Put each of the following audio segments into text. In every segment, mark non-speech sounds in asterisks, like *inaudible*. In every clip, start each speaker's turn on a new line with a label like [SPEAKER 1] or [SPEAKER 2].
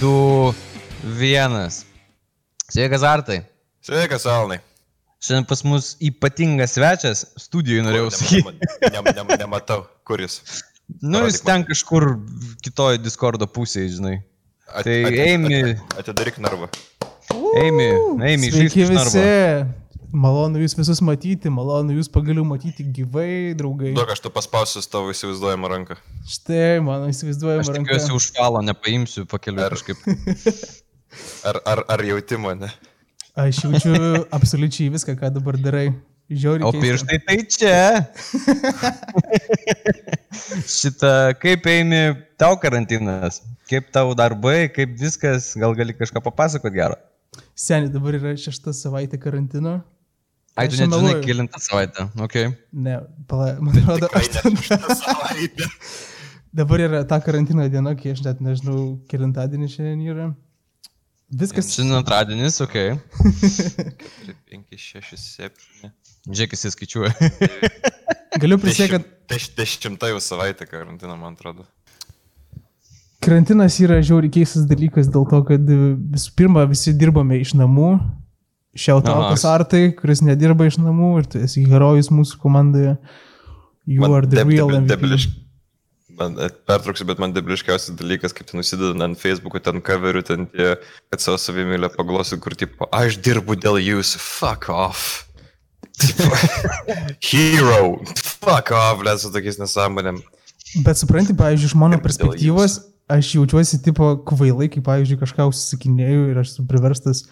[SPEAKER 1] du, vienas. Sveikas, Artai.
[SPEAKER 2] Sveikas, Alnai.
[SPEAKER 1] Šiandien pas mus ypatingas svečias, studijai norėjau sakyti.
[SPEAKER 2] Nem, nem, nem, nematau, kuris.
[SPEAKER 1] Nu, jis
[SPEAKER 2] parodyk man.
[SPEAKER 1] ten kažkur kitoje Discordo pusėje, žinai.
[SPEAKER 2] At,
[SPEAKER 1] Tai Amy.
[SPEAKER 2] Atidaryk narvą.
[SPEAKER 1] Eimi, eimi, žaisk
[SPEAKER 3] Sveiki
[SPEAKER 1] iš narvo.
[SPEAKER 3] visi. Malonu jūs visus matyti, malonu jūs pagaliau matyti gyvai, draugai.
[SPEAKER 2] Duok, aš tu paspausiu tavo įsivaizduojamą ranką.
[SPEAKER 3] Štai mano
[SPEAKER 1] Aš
[SPEAKER 3] įsivaizduojama ranka.
[SPEAKER 1] tikiuosi už falą nepaimsiu pakeliu
[SPEAKER 2] Ar-
[SPEAKER 1] kažkaip.
[SPEAKER 2] Ar, ar, ar jauti mane?
[SPEAKER 3] Aš jaučiu absoliučiai viską, ką dabar darai. Žiauriai.
[SPEAKER 1] O
[SPEAKER 3] keista.
[SPEAKER 1] pirštai tai čia.
[SPEAKER 3] *laughs*
[SPEAKER 1] Šitą, kaip eimi tau karantinas, kaip tau darbai, kaip viskas, gal gali kažką papasakot gero.
[SPEAKER 3] Seniai, dabar yra šešta savaitė karantino.
[SPEAKER 1] Ai,
[SPEAKER 3] Aš
[SPEAKER 1] tu
[SPEAKER 3] čia
[SPEAKER 1] nežinai,
[SPEAKER 3] meluoju.
[SPEAKER 1] kilintą savaitę, okei. Okay.
[SPEAKER 3] Ne, pala, *laughs* man atrodo,
[SPEAKER 2] Tikrai ne
[SPEAKER 3] aštunta.
[SPEAKER 2] šitą savaitę.
[SPEAKER 3] *laughs* Dabar yra ta karantino diena, kai aš net nežinau, kilintadienį šiandien yra. Viskas.
[SPEAKER 1] Šiandien antradienis, okei. Okay.
[SPEAKER 2] 5, 6, 7.
[SPEAKER 1] Žiūrėk, jis
[SPEAKER 2] *laughs*
[SPEAKER 1] skaičiuoja.
[SPEAKER 3] Galiu prisiekti, kad
[SPEAKER 2] Dešimta jau savaitė karantino, man atrodo.
[SPEAKER 3] Karantinas yra žiauriai keistas dalykas dėl to, kad e, visų pirma visi dirbame iš namų. Šiautautas
[SPEAKER 1] Aha.
[SPEAKER 3] Artai, kuris nedirba iš namų ir tu esi herojus mūsų komandoje. You
[SPEAKER 2] Man
[SPEAKER 3] are the
[SPEAKER 2] deb-
[SPEAKER 3] real
[SPEAKER 2] deb-
[SPEAKER 3] MVP.
[SPEAKER 2] deblišk- Man e, pertrauksiu, bet man debliškiausias dalykas, kaip ten nusideda ant Facebook'o, ten coverių, ten tie, kad savo savimylę paglosiu, kur tipo, aš dirbu dėl jūsų, fuck off. Tipo, *laughs* Hero, fuck off, lesu tokiais nesąmonėm.
[SPEAKER 3] Bet supranti, pavyzdžiui, iš
[SPEAKER 1] *laughs*
[SPEAKER 3] mano
[SPEAKER 2] Dėl
[SPEAKER 3] perspektyvos aš jaučiuosi tipo kvailai, kai pavyzdžiui kažką užsisakinėjau ir aš esu priverstas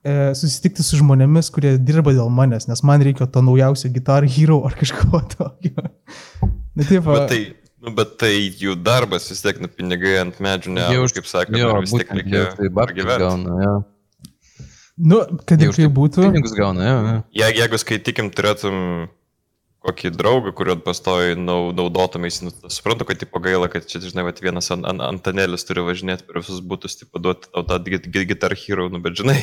[SPEAKER 3] e, susitikti su žmonėmis, kurie dirba dėl manęs, nes man reikia to naujausio Guitar Hero ar kažko *laughs* tokio. Na taip,
[SPEAKER 2] Bet tai, nu, bet tai jų darbas vis tiek, nu, pinigai ant medžių, ne,
[SPEAKER 1] Jie už-
[SPEAKER 2] kaip sakė,
[SPEAKER 1] Jo,
[SPEAKER 2] vis tiek
[SPEAKER 1] būtent,
[SPEAKER 2] reikia
[SPEAKER 1] jie tai babkių
[SPEAKER 2] pragyvent.
[SPEAKER 1] gauna, jo.
[SPEAKER 3] nu, kad
[SPEAKER 1] Jie
[SPEAKER 3] ir
[SPEAKER 1] už tai
[SPEAKER 3] kaip būtų.
[SPEAKER 1] Pinigus gauna, jo. jo.
[SPEAKER 2] Je, jeigu skaitykim, turėtum kokį draugą, kurio pastoji nau, naudotumės, nu, tas suprantu, kad tipo gaila, kad čia, žinai, vat, vienas an, an, Antanėlis turi važinėti per visus būtus, tipo duoti tau tą gi- gi- Guitar Hero, nu, bet
[SPEAKER 1] *laughs*
[SPEAKER 2] žinai,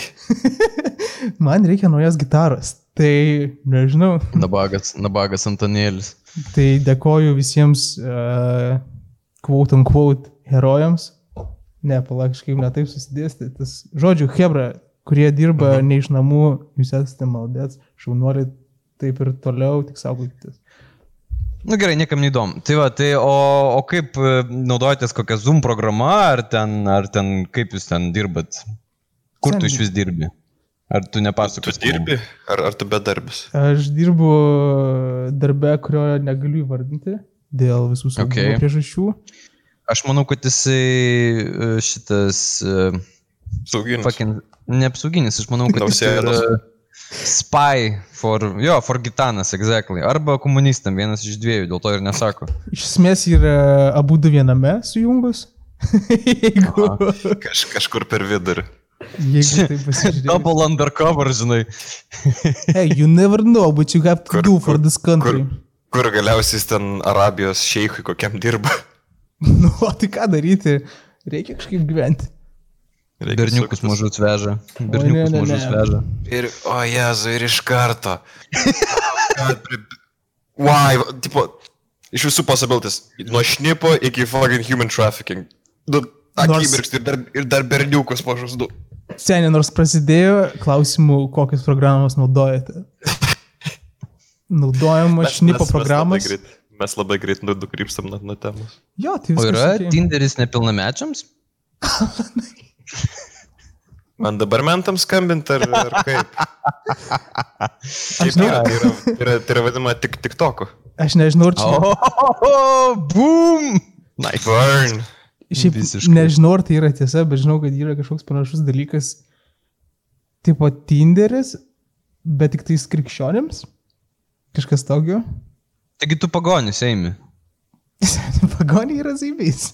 [SPEAKER 3] man reikia naujos gitaros. Tai nežinau.
[SPEAKER 1] Nabagas, nabagas Antanėlis.
[SPEAKER 3] Tai dėkoju visiems uh, quote on quote herojams. Ne, palauk, kažkaip netaip susidėsti. Tas žodžiu, Hebra, kurie dirba ne iš namų, jūs esate maldės, šaunuoliai, taip ir toliau, tik saugokitės.
[SPEAKER 1] Na Nu gerai, niekam neįdomu. Tai va, tai o, o kaip e, naudojatės kokią Zoom programą, ar ten, ar ten kaip jūs ten dirbat? Kur tu
[SPEAKER 3] Sen-
[SPEAKER 1] iš vis dirbi? Ar tu
[SPEAKER 2] tu
[SPEAKER 1] nepasakoji?
[SPEAKER 2] dirbi, ar, ar tu bedarbis?
[SPEAKER 3] Aš dirbu darbe, kurio negaliu įvardinti dėl visų saugumo
[SPEAKER 1] Okay.
[SPEAKER 3] okay. priežasčių.
[SPEAKER 1] Aš manau, kad jisai e, šitas... e,
[SPEAKER 2] Sauginis.
[SPEAKER 1] Fucking, neapsauginis, aš manau, kad jis yra
[SPEAKER 2] Nausėdos.
[SPEAKER 1] spy for, jo, for gitanas, exactly. Arba komunistam, vienas iš dviejų, dėl to ir
[SPEAKER 3] *laughs*
[SPEAKER 1] nesako.
[SPEAKER 3] Iš esmės yra abu du viename sujungus. *laughs* jeigu,
[SPEAKER 2] Kaž, kažkur per vidurį.
[SPEAKER 3] jeigu taip pasižiūrėtume.
[SPEAKER 1] Double undercover, žinai.
[SPEAKER 3] Hey, you never know what you have to
[SPEAKER 2] Kur-
[SPEAKER 3] kur, do for
[SPEAKER 2] kur-
[SPEAKER 3] this country.
[SPEAKER 2] kur- Kur galiausiai jis ten Arabijos šeichui kokiam dirba.
[SPEAKER 3] *laughs* Nu, o tai ką daryti? Reikia kažkaip gyventi.
[SPEAKER 2] Reikia
[SPEAKER 1] Berniukus
[SPEAKER 2] suktis.
[SPEAKER 1] mažus veža.
[SPEAKER 3] ne,
[SPEAKER 1] Berniukus
[SPEAKER 3] ne,
[SPEAKER 1] mažus
[SPEAKER 3] ne.
[SPEAKER 1] veža.
[SPEAKER 2] Ir, o Jezu, ir iš karto. Why, tipo, iš visų pasabiltis. Nuo šnipo iki fucking human trafficking. Du,
[SPEAKER 3] Nors-
[SPEAKER 2] akimirkštį ir, dar- ir dar berniukus mažus du.
[SPEAKER 3] Seniai, nors prasidėjo klausimų, kokias programas naudojate.
[SPEAKER 2] *laughs*
[SPEAKER 3] Naudojama
[SPEAKER 2] Mes- mes- mes
[SPEAKER 3] šnipo
[SPEAKER 2] labai
[SPEAKER 3] programas.
[SPEAKER 2] greit- Mes labai greit nu- nukrypstam nuo, nuo temos.
[SPEAKER 3] Jo, tai
[SPEAKER 1] O yra
[SPEAKER 3] viskas.
[SPEAKER 1] Tinderis nepilnamečiams?
[SPEAKER 2] Man dabar mentams skambinti ar, ar kaip? Taip,
[SPEAKER 3] ne-
[SPEAKER 2] yra, tai yra, tai yra, tai yra vadinama tik tik toku.
[SPEAKER 3] Aš nežinau, ar čia
[SPEAKER 1] Oh, boom! Nice.
[SPEAKER 2] Burn.
[SPEAKER 3] Šiaip
[SPEAKER 1] Visiškai.
[SPEAKER 3] nežinau, ar tai yra tiesa, bet žinau, kad yra kažkoks panašus dalykas, tipo Tinderis, bet tik tais krikščionėms. Kažkas tokio.
[SPEAKER 1] Taigi tu pagonis, eimi.
[SPEAKER 3] *laughs* Pagonė yra zybys.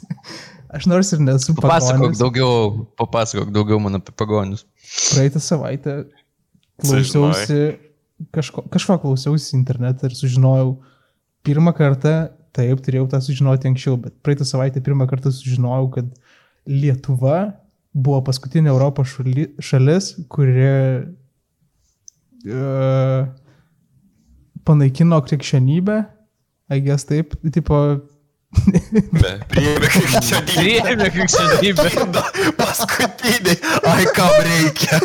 [SPEAKER 3] Aš nors ir nesu
[SPEAKER 1] Papasakok
[SPEAKER 3] pagonis.
[SPEAKER 1] daugiau, papasakok daugiau man apie pagonius.
[SPEAKER 3] praeitą savaitę klausiausi, kažko, kažko klausiausi internetą ir sužinojau pirmą kartą, taip, turėjau tą sužinoti anksčiau, bet praeitą savaitę pirmą kartą sužinojau, kad Lietuva buvo paskutinė Europos šali, šalis, kuri uh, panaikino krikščionybę, aigės taip, tipo,
[SPEAKER 2] Ne, priėmė krikščionybę.
[SPEAKER 4] Priėmė krikščionybę.
[SPEAKER 2] Tada Paskutiniai. Ai, kam reikia?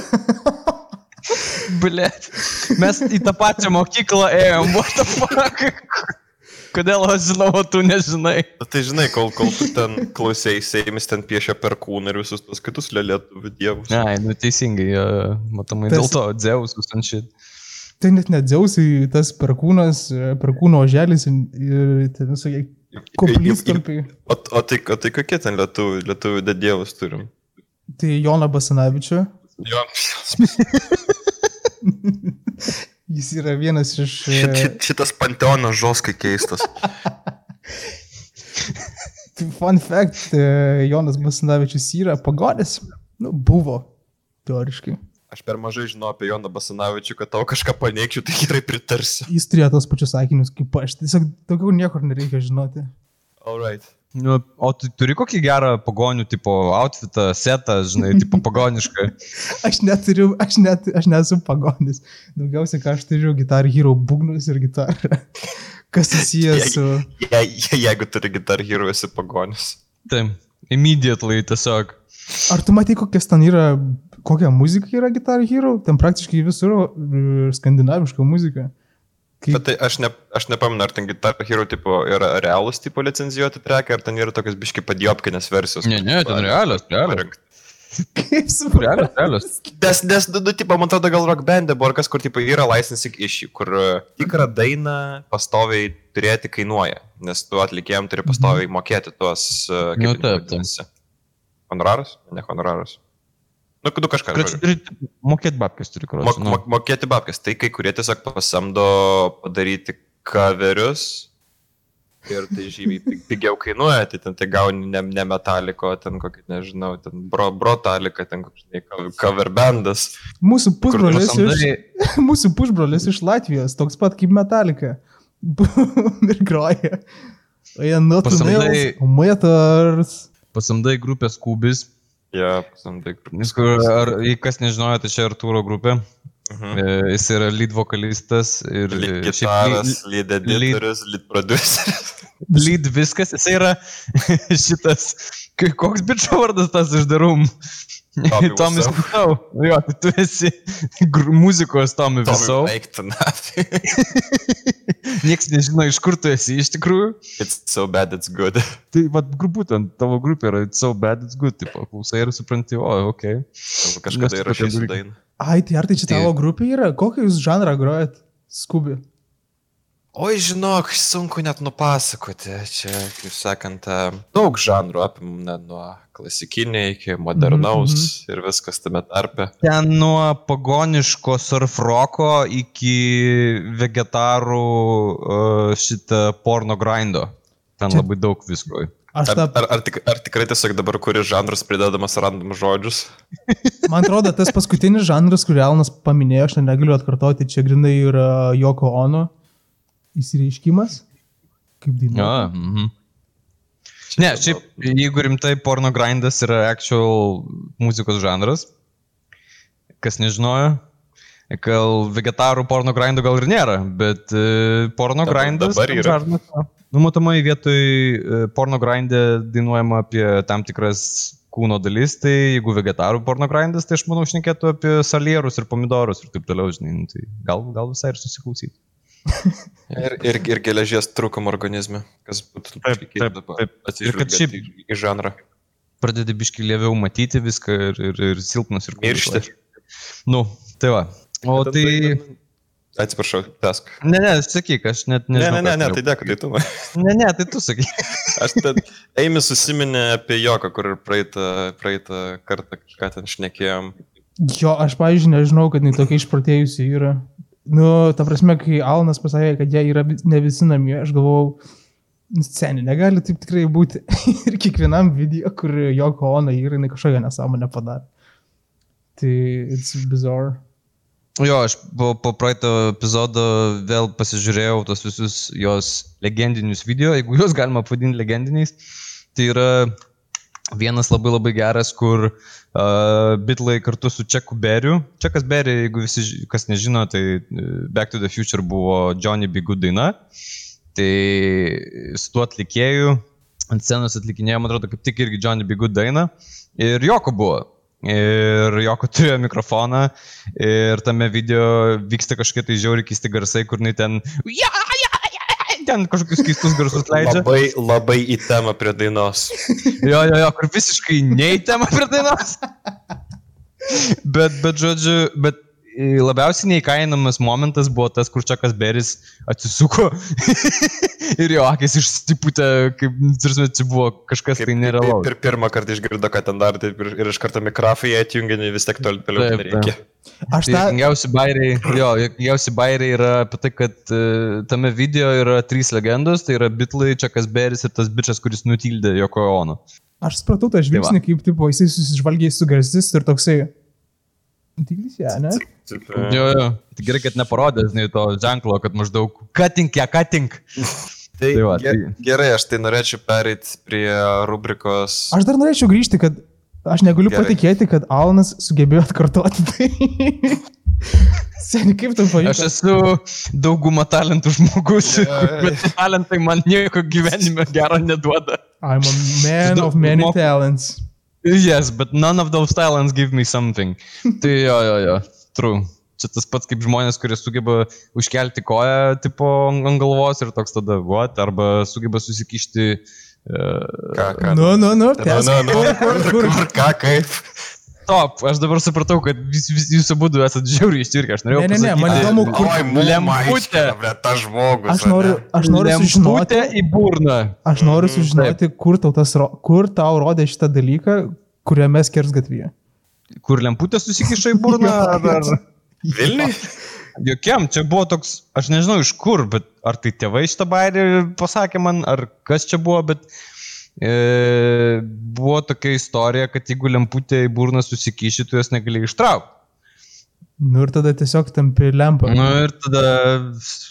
[SPEAKER 1] Blet. Mes į tą pačią mokyklą ėjom, what the fuck. Kodėl aš žinau, o tu nežinai?
[SPEAKER 2] Na, Tai žinai, kol, kol tu ten klausėjai, Seimis ten piešia per kūną ir visus tos kitus lėlėtų dievus.
[SPEAKER 1] Ne, nu teisingai, jo, matomai
[SPEAKER 3] Tas-
[SPEAKER 1] dėl to Dzeusus ten šit.
[SPEAKER 3] Tai net nedžiausiai tas perkūnas, e, perkūno oželis ir ten visokie koplytstarpiai.
[SPEAKER 2] O, o, tai, o tai kokie ten lietuvių, lietuvių dievus turim?
[SPEAKER 3] Tai Jona Basanavičio,
[SPEAKER 2] Jo,
[SPEAKER 3] jis yra
[SPEAKER 2] *laughs*
[SPEAKER 3] vienas iš... e,
[SPEAKER 2] šit, šit, šitas panteonas žoskai keistas.
[SPEAKER 3] Tai Fun fact, e, Jonas Basanavičius yra pagonis. Nu, buvo, teoriškai.
[SPEAKER 2] Aš per mažai žinau apie Joną Basanavičių, kad tau kažką paneigčiau, tai gerai pritarsiu.
[SPEAKER 3] Jis turėjo tos pačius sakinius kaip aš. Tiesiog daugiau niekur nereikia žinoti. *laughs*
[SPEAKER 2] Alright.
[SPEAKER 1] Nu, o tu turi kokį gerą pagonių tipo outfitą, setą, *laughs* žinai, tipo pagonišką.
[SPEAKER 3] Aš neturiu, aš, net, aš nesu pagonis. Daugiausiai, ką aš turiu, gitarų hero būgnus ir gitarą. *laughs* Kas susijęs su...
[SPEAKER 2] Je, je, jeigu turi gitar hero, esi pagonis.
[SPEAKER 1] Taip, Tai immediately tiesiog.
[SPEAKER 3] Ar tu matai, kokias ten yra, kokia muzika yra gitarų hero? Ten praktiškai visur e, skandinaviška muzika. Kaip-
[SPEAKER 2] Bet tai aš, ne, aš nepamenu, ar ten gitar hero tipo yra realūs tipo licencijuoti prekia, ar ten yra tokios biški padiopkinės versijos.
[SPEAKER 1] Ne, ne, ten realios, realios.
[SPEAKER 2] Parengta.
[SPEAKER 3] *laughs* Kaip su...
[SPEAKER 1] Realios, realios.
[SPEAKER 2] Nes, nes, nu, nu, tipo, man atrodo, gal rock bandė buvo ar kas, kur, tipo, yra licensing issue, kur e, tikrą dainą pastoviai turėti kainuoja, nes tu atlikėjom turi pastoviai mokėti tuos, e,
[SPEAKER 1] Mhm.
[SPEAKER 2] kaip
[SPEAKER 1] Nu,
[SPEAKER 2] jie
[SPEAKER 1] taip, taip.
[SPEAKER 2] vadinasi. Honoraras? Ne honoraras. Nu, k- nu kažką.
[SPEAKER 1] *laughs* Kad
[SPEAKER 2] žodžiu.
[SPEAKER 1] turi mokėti babkės turi kruopščiai.
[SPEAKER 2] Mok, mok, mokėti babkės. Tai kai kurie tiesiog pasamdo padaryti coverius ir tai žymiai pi- pigiau kainuoja, tai ten tai gauni ne, ne metaliko, ten kokį, nežinau, ten bro, brotaliką, ten kokį cover bandas.
[SPEAKER 3] Mūsų pusbrolis iš...
[SPEAKER 1] Pasamdai,
[SPEAKER 3] *laughs* Mūsų pusbrolis iš Latvijos, toks pat kaip Metallica. *laughs* Ir groja. O jie nuotraukai.
[SPEAKER 1] Pasamdai-
[SPEAKER 3] Metars.
[SPEAKER 1] pasamdai grupės kubis.
[SPEAKER 2] Ja, pasamdai grupės.
[SPEAKER 1] Nes kur, ar, jei kas nežinojo, tai čia Artūro grupė.
[SPEAKER 2] Mhm.
[SPEAKER 1] E, Jis yra lead vokalistas ir
[SPEAKER 2] Lead
[SPEAKER 1] e, šiaip
[SPEAKER 2] gitaras, lead editorius, lead produceris.
[SPEAKER 1] lead- lead viskas, jis yra *laughs* šitas, kai- koks bičio vardas tas išdarum. *laughs*
[SPEAKER 2] Tommy
[SPEAKER 1] Tomis Visau.
[SPEAKER 2] Wiseau.
[SPEAKER 1] Jo, tai tu esi *laughs* gr- muzikos Tomi Visau.
[SPEAKER 2] Eiktų nafi.
[SPEAKER 1] Niekas nežino, iš kur tu esi iš tikrųjų.
[SPEAKER 2] It's so bad, it's good.
[SPEAKER 1] Tai vad, gru- būtent tavo grupė yra It's so bad, it's good, tipo, klausai ir supranti, o, ok.
[SPEAKER 2] Kažkada
[SPEAKER 1] Nes
[SPEAKER 2] yra šis
[SPEAKER 1] tokie dalykai.
[SPEAKER 2] daina.
[SPEAKER 3] Ai, tai ar tai čia
[SPEAKER 1] Tai-
[SPEAKER 3] tavo grupė yra? Kokį jūs žanrą grojat? Skubi.
[SPEAKER 2] Oi, žinok, sunku net nupasakoti. Čia, kaip sakant, a, daug žanrų apimna nuo klasikinio iki modernaus ir viskas tame tarpe.
[SPEAKER 1] Ten nuo pagoniško surfroko iki vegetarų e, šitą porno grindo. Ten
[SPEAKER 3] Čia-
[SPEAKER 1] labai daug visko.
[SPEAKER 3] Aš
[SPEAKER 2] Ar,
[SPEAKER 3] tą...
[SPEAKER 2] ar, ar, tik, ar tikrai tiesiog dabar kuris žanras pridedamas random žodžius?
[SPEAKER 3] Man atrodo, tas paskutinis žanras, kurį Alnas paminėjo, aš ten negaliu atkartoti, tai čia grinai yra Joko Ono įsireiškimas. Kaip daina.
[SPEAKER 1] Ja, mhm. Ne, šiaip, jeigu rimtai, porno grindas yra actual muzikos žanras. Kas nežinojo, gal vegetarų porno grindų gal ir nėra, bet e, porno
[SPEAKER 2] Dabar-
[SPEAKER 1] grindas.
[SPEAKER 2] dabar
[SPEAKER 1] tam
[SPEAKER 2] yra.
[SPEAKER 1] žanras, jo. Numatomai vietoj e, porno grindė dainuojama apie tam tikras kūno dalis, tai jeigu vegetarų porno grindas, tai aš manau, šnekėtų apie salierus ir pomidorus ir taip toliau, žinai, nu, tai gal, gal visai ir susiklausyti.
[SPEAKER 2] Ir, ir, ir geležies trūkum organizme, kas būtų
[SPEAKER 1] Taip, taip, taip. Ir kad šiaip-
[SPEAKER 2] atsižvelgiant į, į žanrą.
[SPEAKER 1] pradedi biškai lėviau matyti viską ir, ir, ir silpnas ir
[SPEAKER 2] Miršti.
[SPEAKER 1] Nu, tai va. O tai...
[SPEAKER 2] Atsiprašau, tesk.
[SPEAKER 1] Ne, ne, sakyk, aš net
[SPEAKER 2] Ne, ne,
[SPEAKER 1] nežinau. ką
[SPEAKER 2] ne, ne,
[SPEAKER 1] aš
[SPEAKER 2] tai
[SPEAKER 1] norėjau.
[SPEAKER 2] dėkui, tai tu. *laughs* man.
[SPEAKER 1] Ne, ne, tai tu sakyk.
[SPEAKER 2] Aš ten, Eimi susiminė apie Joką, kur ir praeitą, praeitą kartą kažką ten šnekėjom.
[SPEAKER 3] Jo, aš, pavyzdžiui, nežinau, kad jinai tokia išprotėjusi yra. Nu, ta prasme, kai Alnas pasakė, kad jie yra vi- ne visi namie, aš galvojau, nu, seniai, negali taip tikrai būti. *laughs* Ir kiekvienam video, kur jo koona yra, jinai kažkokią nesąmonę padarė. Tai it's bizarre.
[SPEAKER 1] Jo, aš po, po praeito epizodo vėl pasižiūrėjau tos visus jos legendinius video, jeigu juos galima pavadinti legendiniais. Tai yra vienas labai labai geras, kur uh, bitlai kartu su Čeku Beriu. Čekas Beri, jeigu visi, ži- kas nežino, tai e, Back to the Future buvo Johnny Bigu daina. Tai su tuo atlikėju ant scenos atlikinėjo, man atrodo, kaip tik irgi Johnny B. Good dainą. Ir Joko buvo. Ir Joko *laughs* turėjo mikrofoną. Ir tame video vyksta kažkokie tai žiauriai keisti garsai, kur jinai ten... "Ja, ja, ja", Ten kažkokius keistus garsus leidžia. Tai
[SPEAKER 2] Labai, labai į temą prie
[SPEAKER 1] *laughs*
[SPEAKER 2] dainos.
[SPEAKER 1] Jo, jo, jo, kur visiškai neįtema prie dainos. Bet, bet, žodžiu, bet i, labiausiai neįkainamas momentas buvo tas, kur Čakas Beris atsisuko *laughs* ir jo akis išsipūtė, kaip, tarsi, čia buvo kažkas tai nėra laukas.
[SPEAKER 2] Ir pirmą kartą išgirdo, kad ten dar taip ir, ir iš karto mikrofai atjungia, nei vis tiek tol toliau
[SPEAKER 1] Taip,
[SPEAKER 2] taip, nereikia.
[SPEAKER 3] Aš tą...
[SPEAKER 1] Juokingiausi bairiai, jo, juokingiausi bairiai yra apie tai, kad e, tame video yra trys legendos, tai yra bitlai, Čakas Beris ir tas bičias, kuris nutildė Joko Ono.
[SPEAKER 3] Aš supratau tą žvilgsnį, kaip tipo, jisai susižvalgiai su garsist ir toksai... Didelis, ja, ne?
[SPEAKER 2] Taip, e,
[SPEAKER 1] Jo, jo, Tai gerai, kad neparodė, žinai, to ženklo, kad maždaug katink, ja, katink.
[SPEAKER 2] Tai,
[SPEAKER 1] Tai va,
[SPEAKER 2] ge-
[SPEAKER 1] tai-
[SPEAKER 2] gerai, aš tai norėčiau pereiti prie rubrikos.
[SPEAKER 3] Aš dar norėčiau grįžti, kad aš negaliu
[SPEAKER 2] Gerai.
[SPEAKER 3] Gerai. patikėti, kad Alanas sugebėjo atkartoti tai. *laughs* Seniai, kaip tu
[SPEAKER 1] Aš
[SPEAKER 3] pajutai?
[SPEAKER 1] esu daugumą talentų žmogus, *laughs*
[SPEAKER 2] Jo, jo, jo.
[SPEAKER 1] bet tie talentai man nieko gyvenime gero neduoda.
[SPEAKER 3] I'm a man
[SPEAKER 1] Žinau,
[SPEAKER 3] of many
[SPEAKER 1] moku.
[SPEAKER 3] talents.
[SPEAKER 1] Yes, but none of those talents give me *laughs* something. Tai jo, jo, jo, true. Čia tas pats kaip žmonės, kurie sugeba užkelti koją tipo ant ant galvos ir toks tada, what, arba sugeba susikišti. Uh,
[SPEAKER 2] Ką, ką?
[SPEAKER 3] Nu, nu, nu,
[SPEAKER 2] Na,
[SPEAKER 3] tęsk.
[SPEAKER 2] na, na, kur, kur, ką, kaip?
[SPEAKER 1] top, aš dabar supratau, kad vis, vis, jūs abu esate žiauriai ištirkę, aš norėjau.
[SPEAKER 3] Ne, ne, ne, man
[SPEAKER 1] pasakyti-
[SPEAKER 3] įdomu, kur-
[SPEAKER 2] Oi,
[SPEAKER 1] Lemputė.
[SPEAKER 2] lemputė. Bet tas žmogus.
[SPEAKER 3] Aš noriu, aš noriu sužinoti,
[SPEAKER 1] Lemputė į burną.
[SPEAKER 3] aš noriu sužinoti kur, tau tas, ro- kur tau rodė šitą dalyką, kuriame skers gatvėje.
[SPEAKER 1] Kur lemputė susikiša į burną?
[SPEAKER 3] *laughs*
[SPEAKER 1] ar, ar...
[SPEAKER 2] Vilniui?
[SPEAKER 1] Jokiam, čia buvo toks, aš nežinau iš kur, bet ar tai tėvai šitą bairį pasakė man, ar kas čia buvo, bet e, buvo tokia istorija, kad jeigu lemputė į burną susikiši, tu jos negali ištraukti.
[SPEAKER 3] Nu ir tada tiesiog tampi lempą.
[SPEAKER 1] Na nu, ir tada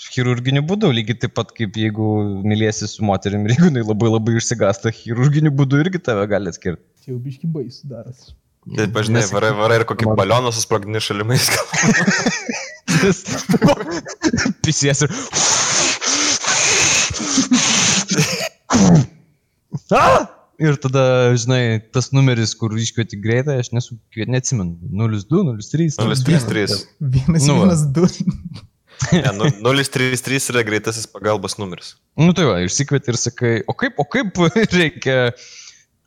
[SPEAKER 1] chirurginiu būdu, lygiai taip pat kaip jeigu mylėsi su moterim ir jeigu jinai labai labai išsigasta, chirurginiu būdu irgi tave gali atskirti.
[SPEAKER 3] Čia jau biški baisų daras.
[SPEAKER 2] Taip, žinai,
[SPEAKER 1] Nesakyk.
[SPEAKER 2] varai, varai ir kokį balioną susprogdini šalimais.
[SPEAKER 1] Pisies ir... A! Ir tada, žinai, tas numeris, kur iškvieti greitai, aš nesu, neatsimenu, 02, 03.
[SPEAKER 2] 033.
[SPEAKER 3] Vienas,
[SPEAKER 1] Nu va.
[SPEAKER 3] nu, vienas, du.
[SPEAKER 2] Ne, nu- 033 yra greitasis pagalbos numeris.
[SPEAKER 1] Nu tai va, išsikvieti ir sakai, o kaip, o kaip *laughs* reikia,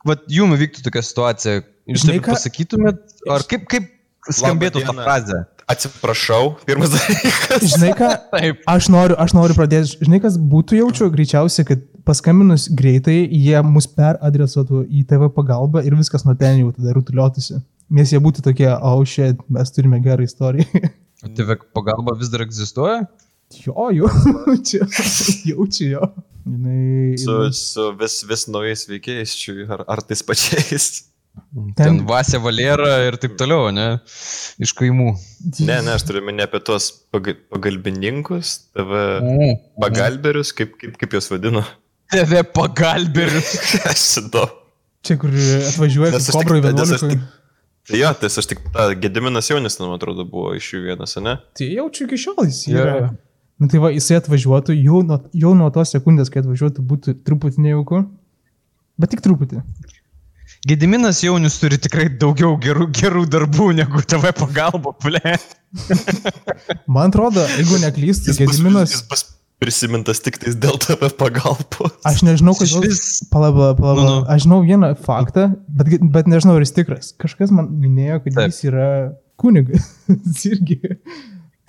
[SPEAKER 1] vad jum įvyktų tokia situacija, jūs
[SPEAKER 3] Žinai
[SPEAKER 1] taip
[SPEAKER 3] ką?
[SPEAKER 1] pasakytumėt, ar kaip, kaip skambėtų ta
[SPEAKER 2] diena.
[SPEAKER 1] frazė?
[SPEAKER 2] Atsiprašau, pirmas dalykas.
[SPEAKER 3] *laughs* Žinai ką,
[SPEAKER 1] Taip.
[SPEAKER 3] Aš noriu, aš noriu pradėti, žinai, kas būtų jaučiu, greičiausiai, kad paskambinus greitai, jie mus peradresuotų į TV pagalbą ir viskas nuo ten jau tada rutuliuotųsi. Nes jie būtų tokie, oh shit, mes turime gerą istoriją. *laughs*
[SPEAKER 1] O TV tai pagalba vis dar egzistuoja?
[SPEAKER 3] jo, jau, čia, *laughs* jaučiu jo. Jinai,
[SPEAKER 2] Su, su vis, vis naujais veikėjais, čiui, ar, ar tais pačiais.
[SPEAKER 1] Ten,
[SPEAKER 3] Ten-
[SPEAKER 1] ten Vasė Valera ir taip toliau, ne? Iš kaimų.
[SPEAKER 2] Ne, ne, aš turiu minėti apie tuos paga- pagalbininkus, TV pagalberius, kaip, kaip, kaip juos *laughs* vadino.
[SPEAKER 1] TV pagalbėrius.
[SPEAKER 2] Aš žinau.
[SPEAKER 3] Čia, kur atvažiuoja
[SPEAKER 2] Nes
[SPEAKER 3] su
[SPEAKER 2] aš tik-
[SPEAKER 3] kobrui
[SPEAKER 2] nes aš
[SPEAKER 3] 11.
[SPEAKER 2] tik- Tai jo, tai aš tik, ta, Gediminas Jaunis, man atrodo, buvo iš jų vienas, ne?
[SPEAKER 3] Tai jaučiu iki šiol jis
[SPEAKER 1] Jo,
[SPEAKER 3] yra.
[SPEAKER 1] jo.
[SPEAKER 3] Yeah. Na tai va, jisai atvažiuotų, jau nuo, jau nuo tos sekundės, kai atvažiuotų, būtų truputį nejauku. Bet tik truputį.
[SPEAKER 1] Gediminas Jaunius turi tikrai daugiau gerų, gerų darbų negu TV pagalba, ble.
[SPEAKER 3] Man atrodo, jeigu neklystu,
[SPEAKER 2] bus-
[SPEAKER 3] Gediminas,
[SPEAKER 2] jis bus prisimintas tik tais dėl TV pagalbos.
[SPEAKER 3] aš nežinau,
[SPEAKER 1] Iš
[SPEAKER 3] kodėl.
[SPEAKER 1] vis.
[SPEAKER 3] Palaba, palaba.
[SPEAKER 1] Nu,
[SPEAKER 3] Nu,
[SPEAKER 1] nu.
[SPEAKER 3] nu. Aš žinau vieną faktą, bet, gi- bet nežinau, ar jis tikras. Kažkas man minėjo, kad
[SPEAKER 1] Taip.
[SPEAKER 3] Taip. jis yra kunigas. *laughs* Jis irgi.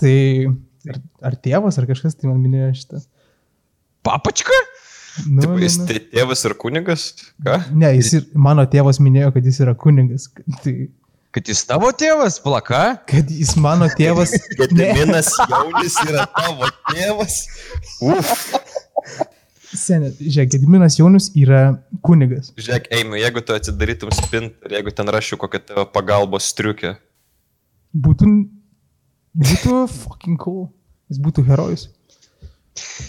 [SPEAKER 3] Tai ar, ar tėvas, ar kažkas tai man minėjo šitą.
[SPEAKER 1] Papačka?
[SPEAKER 3] Nu,
[SPEAKER 2] Taip, jis tė- tėvas ir kunigas? Ką?
[SPEAKER 3] Ne, jis ir mano tėvas minėjo, kad jis yra kunigas. Tai,
[SPEAKER 1] Kad jis tavo tėvas, plaka?
[SPEAKER 3] kad jis mano
[SPEAKER 1] *laughs*
[SPEAKER 3] tėvas. ne,
[SPEAKER 2] Gediminas Jaunis yra tavo tėvas.
[SPEAKER 3] senė, žiūrėk, Gediminas Jaunius yra kunigas.
[SPEAKER 2] Žiūrėk, einu, jeigu tu atsidarytum spintą ir jeigu ten rašiau kokią tavo pagalbos striukę.
[SPEAKER 3] Būtų, būtų fucking cool. Jis būtų herojus.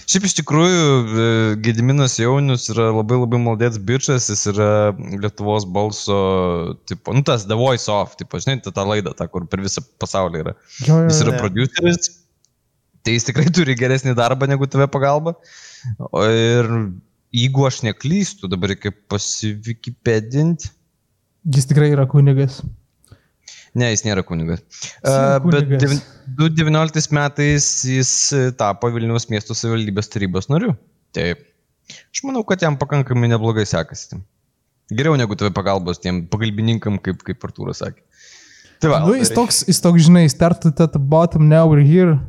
[SPEAKER 1] Šiaip iš tikrųjų, e, Gediminas Jaunius yra labai labai maldėts bičias, jis yra Lietuvos balso, tipo, nu tas The Voice of, tipo, žinai, ta, ta laida, ta, kur per visą pasaulį yra.
[SPEAKER 3] Jo, jo,
[SPEAKER 1] Jis yra
[SPEAKER 2] Ne.
[SPEAKER 1] produceris, *laughs* tai jis tikrai turi geresnį darbą negu TV pagalba. O ir jeigu aš neklystu, dabar reikia pasivikipedinti.
[SPEAKER 3] Jis tikrai yra kunigas.
[SPEAKER 1] Ne, jis nėra kunigas.
[SPEAKER 3] yra
[SPEAKER 1] A, Bet
[SPEAKER 3] kunigas.
[SPEAKER 1] devyn- 2019 metais jis e, tapo Vilniaus miesto savivaldybės tarybos nariu. Taip. Aš manau, kad jam pakankamai neblogai sekasi. Geriau negu tave pagalbos tiem pagalbininkam, kaip, kaip Artūras sakė. Tai va,
[SPEAKER 3] Nu, jis toks, jis toks, žinai, started at the bottom, now we're here.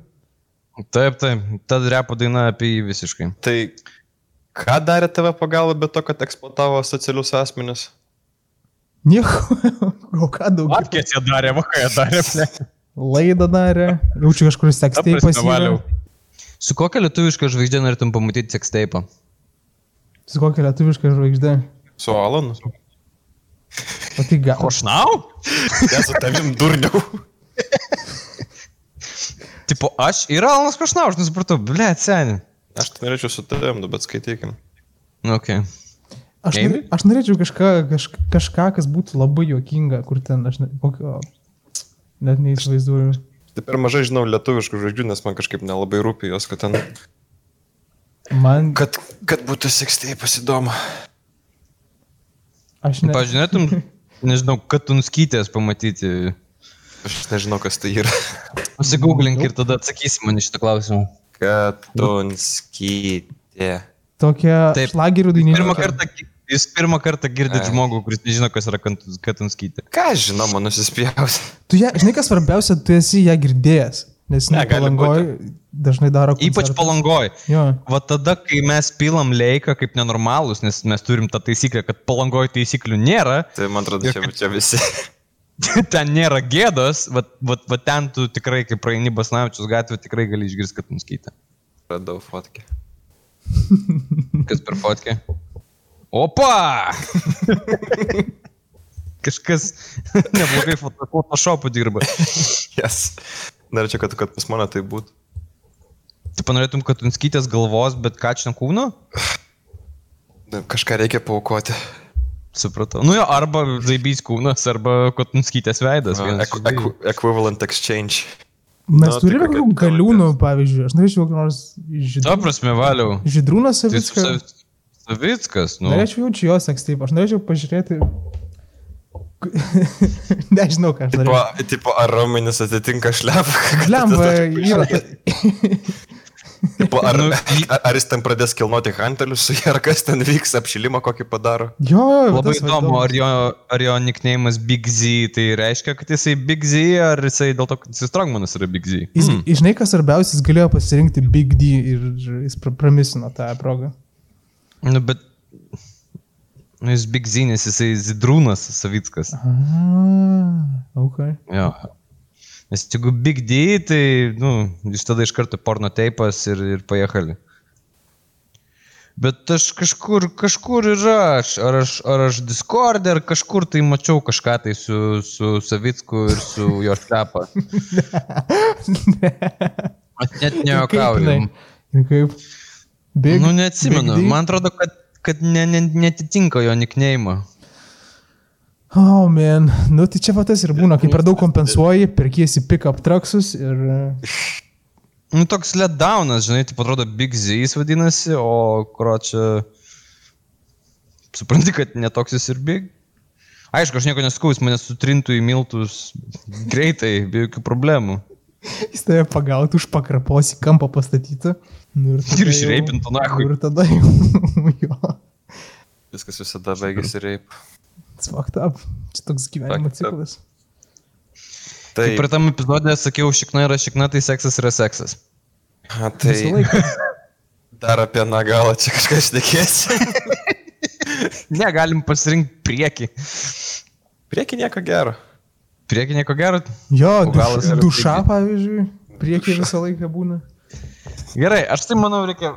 [SPEAKER 1] Taip, taip, tad repo daina apie jį visiškai.
[SPEAKER 2] Tai ką darė tave pagalba be to, kad eksploatavo socialius asmenis?
[SPEAKER 3] Nieko, *laughs* o ką daugiau.
[SPEAKER 1] jie darė, vakarą darė.
[SPEAKER 3] Laidą darė, jaučiu kažkur sekstėjai pasivaliau.
[SPEAKER 1] Su kokia lietuviška žvaigždė norėtum pamatyti seksteipą?
[SPEAKER 3] Su kokia lietuviška žvaigždė.
[SPEAKER 2] Su Alanu?
[SPEAKER 3] O tai gal.
[SPEAKER 1] Košnau?
[SPEAKER 2] Nesu tavim durniau.
[SPEAKER 1] Tipo, aš ir Alanas Košnau, aš nesupratau, ble, seniai.
[SPEAKER 2] Aš tai norėčiau su tavim, nu, bet skaitykim.
[SPEAKER 1] Nu, okay.
[SPEAKER 3] Aš, nor,
[SPEAKER 1] Amy?
[SPEAKER 3] aš norėčiau kažką, kaž, kažką, kas būtų labai juokinga, kur ten aš ne, kokio, net neįsivaizduoju.
[SPEAKER 2] Tai per mažai žinau lietuviškų žodžių, nes man kažkaip nelabai rūpi jos, kad ten...
[SPEAKER 3] Man,
[SPEAKER 2] Kad, kad būtų sekstėjai pasidomu.
[SPEAKER 3] aš ne,
[SPEAKER 1] Pažinėtum, nežinau, kad tunskytės pamatyti.
[SPEAKER 2] Aš nežinau, kas tai yra.
[SPEAKER 1] Pasigūglink ir tada atsakysi man iš šitą klausimą.
[SPEAKER 2] Kad tonskytė.
[SPEAKER 3] tokia
[SPEAKER 1] Taip.
[SPEAKER 3] šlagerių
[SPEAKER 1] Pirmą
[SPEAKER 3] dainininkė.
[SPEAKER 1] kartą, gi- jūs pirmą kartą girdit
[SPEAKER 2] Ai.
[SPEAKER 1] žmogų, kuris nežino, kas yra kant- kad tunskytė.
[SPEAKER 2] Ką aš žinau, man nusispjausi.
[SPEAKER 3] Tu ją, žinai, kas svarbiausia, tu esi ją girdėjęs, nes
[SPEAKER 2] Ne,
[SPEAKER 3] ne,
[SPEAKER 2] gali
[SPEAKER 3] palangoj dažnai daro.
[SPEAKER 1] Ypač
[SPEAKER 3] koncertus.
[SPEAKER 1] palangoj.
[SPEAKER 3] Jo.
[SPEAKER 1] Va tada, kai mes pilam leiką kaip nenormalus, nes mes turim tą taisyklę, kad palangoj taisyklių nėra,
[SPEAKER 2] Tai man atrodo,
[SPEAKER 1] Ir
[SPEAKER 2] čia,
[SPEAKER 1] kad-
[SPEAKER 2] čia visi.
[SPEAKER 1] *laughs* ten nėra gėdos, va, va, va ten tu tikrai, kai praeini Basnavičius gatvę, tikrai gali išgirsti, kad nuskytė.
[SPEAKER 2] Radau fotkę.
[SPEAKER 1] Kas per fotkė? Opa! Kažkas *laughs* neblogai foto- Photoshopu dirba.
[SPEAKER 2] Jas. Yes. Norėčiau, kad, kad pas mane tai būtų.
[SPEAKER 1] Tu panorėtum, kad nuskytės galvos, bet kačino kūno?
[SPEAKER 2] Na, Kažką reikia paukoti.
[SPEAKER 1] Supratau. Nu jo, arba žaibys kūnas, arba kad nuskytės veidas. vienas iš
[SPEAKER 2] Equ, equ,
[SPEAKER 1] dviejų.
[SPEAKER 2] equivalent exchange.
[SPEAKER 3] Mes
[SPEAKER 2] Na, tai
[SPEAKER 3] turime
[SPEAKER 2] kokia
[SPEAKER 3] kokių
[SPEAKER 2] ta
[SPEAKER 3] galiūnų, pavyzdžiui, aš norėčiau kokį nors
[SPEAKER 1] Ta
[SPEAKER 3] žydrūną.
[SPEAKER 1] prasme, valiau.
[SPEAKER 3] Žydrūnas
[SPEAKER 1] Tai su
[SPEAKER 3] Savickas.
[SPEAKER 1] Sav- Savickas, nu.
[SPEAKER 3] Norėčiau jaučiu jos eksteipą, aš norėčiau pažiūrėti. *laughs* Nežinau, ką aš
[SPEAKER 2] Tipo,
[SPEAKER 3] norėjau.
[SPEAKER 2] tipo ar raumenis atitinka šlepą?
[SPEAKER 3] Lemba yra. ta-
[SPEAKER 2] Tipo, ar, *laughs*
[SPEAKER 1] Nu,
[SPEAKER 2] ar, ar jis ten pradės kilnoti hantelius su jie, ar kas ten vyks, apšilimą kokį padaro?
[SPEAKER 3] Jo, jo, jo,
[SPEAKER 1] Labai
[SPEAKER 3] tas va
[SPEAKER 1] įdomu, ar jo, ar jo nickname'as Big Z, tai reiškia, kad jisai Big Z, ar jisai dėl to, kad jisai Strongmanas yra Big Z. Hmm.
[SPEAKER 3] Jis, mm. Žinai, kas svarbiausia, jis galėjo pasirinkti Big D ir jis pra- pramisino tą progą.
[SPEAKER 1] Nu, bet nu, jis Big Z, nes jisai Zidrūnas Savickas.
[SPEAKER 3] Ah, okay.
[SPEAKER 1] Jo. Nes jeigu Big D, tai, nu, jis tada iš karto porno teipas ir, ir pajekali. Bet aš kažkur, kažkur ir aš, ar aš, ar aš Discord, ar kažkur tai mačiau kažką tai su, su Savicku ir su jo
[SPEAKER 3] *laughs*
[SPEAKER 1] šlepa. Aš net nejuokauju.
[SPEAKER 3] jinai? Ir kaip? Big,
[SPEAKER 1] Nu, neatsimenu.
[SPEAKER 3] Big D?
[SPEAKER 1] Man atrodo, kad, kad ne, ne, netitinka jo nikneimo.
[SPEAKER 3] Oh, man. Nu, tai čia patas ir būna, kai per daug kompensuoji, perkiesi pick-up traksus ir... e,
[SPEAKER 1] Nu, toks ledaunas, žinai, tai atrodo Big Z jis vadinasi, o kročia... Supranti, kad netoks jis ir Big. Aišku, aš nieko neskau, jis mane sutrintų į miltus greitai, be jokių problemų.
[SPEAKER 3] Jis tave pagautų už pakrapos į kampą pastatytą. Nu, ir tada jau-
[SPEAKER 1] išreipintų, nachui.
[SPEAKER 3] Ir tada jau... *laughs* jo.
[SPEAKER 2] Viskas visada
[SPEAKER 3] Nu,
[SPEAKER 2] baigėsi reip.
[SPEAKER 3] It's fucked up. Čia toks gyvenimo
[SPEAKER 2] Fucked up.
[SPEAKER 3] ciklas.
[SPEAKER 2] Tai,
[SPEAKER 1] Kaip ir tam epizodė sakiau, šikna yra šikna, tai seksas yra seksas.
[SPEAKER 2] a,
[SPEAKER 3] Visą
[SPEAKER 2] tai
[SPEAKER 3] laiką.
[SPEAKER 2] *laughs* dar apie nagalą čia kažkas nekėsi.
[SPEAKER 3] *laughs*
[SPEAKER 1] Negalim pasirinkti priekį.
[SPEAKER 2] Prieki nieko gero.
[SPEAKER 1] Priekį nieko gero.
[SPEAKER 3] Jo,
[SPEAKER 1] O gal jis
[SPEAKER 3] duš,
[SPEAKER 1] yra
[SPEAKER 3] duša, pavyzdžiui, priekyje visą laiką būna.
[SPEAKER 1] Gerai, aš tai manau, reikia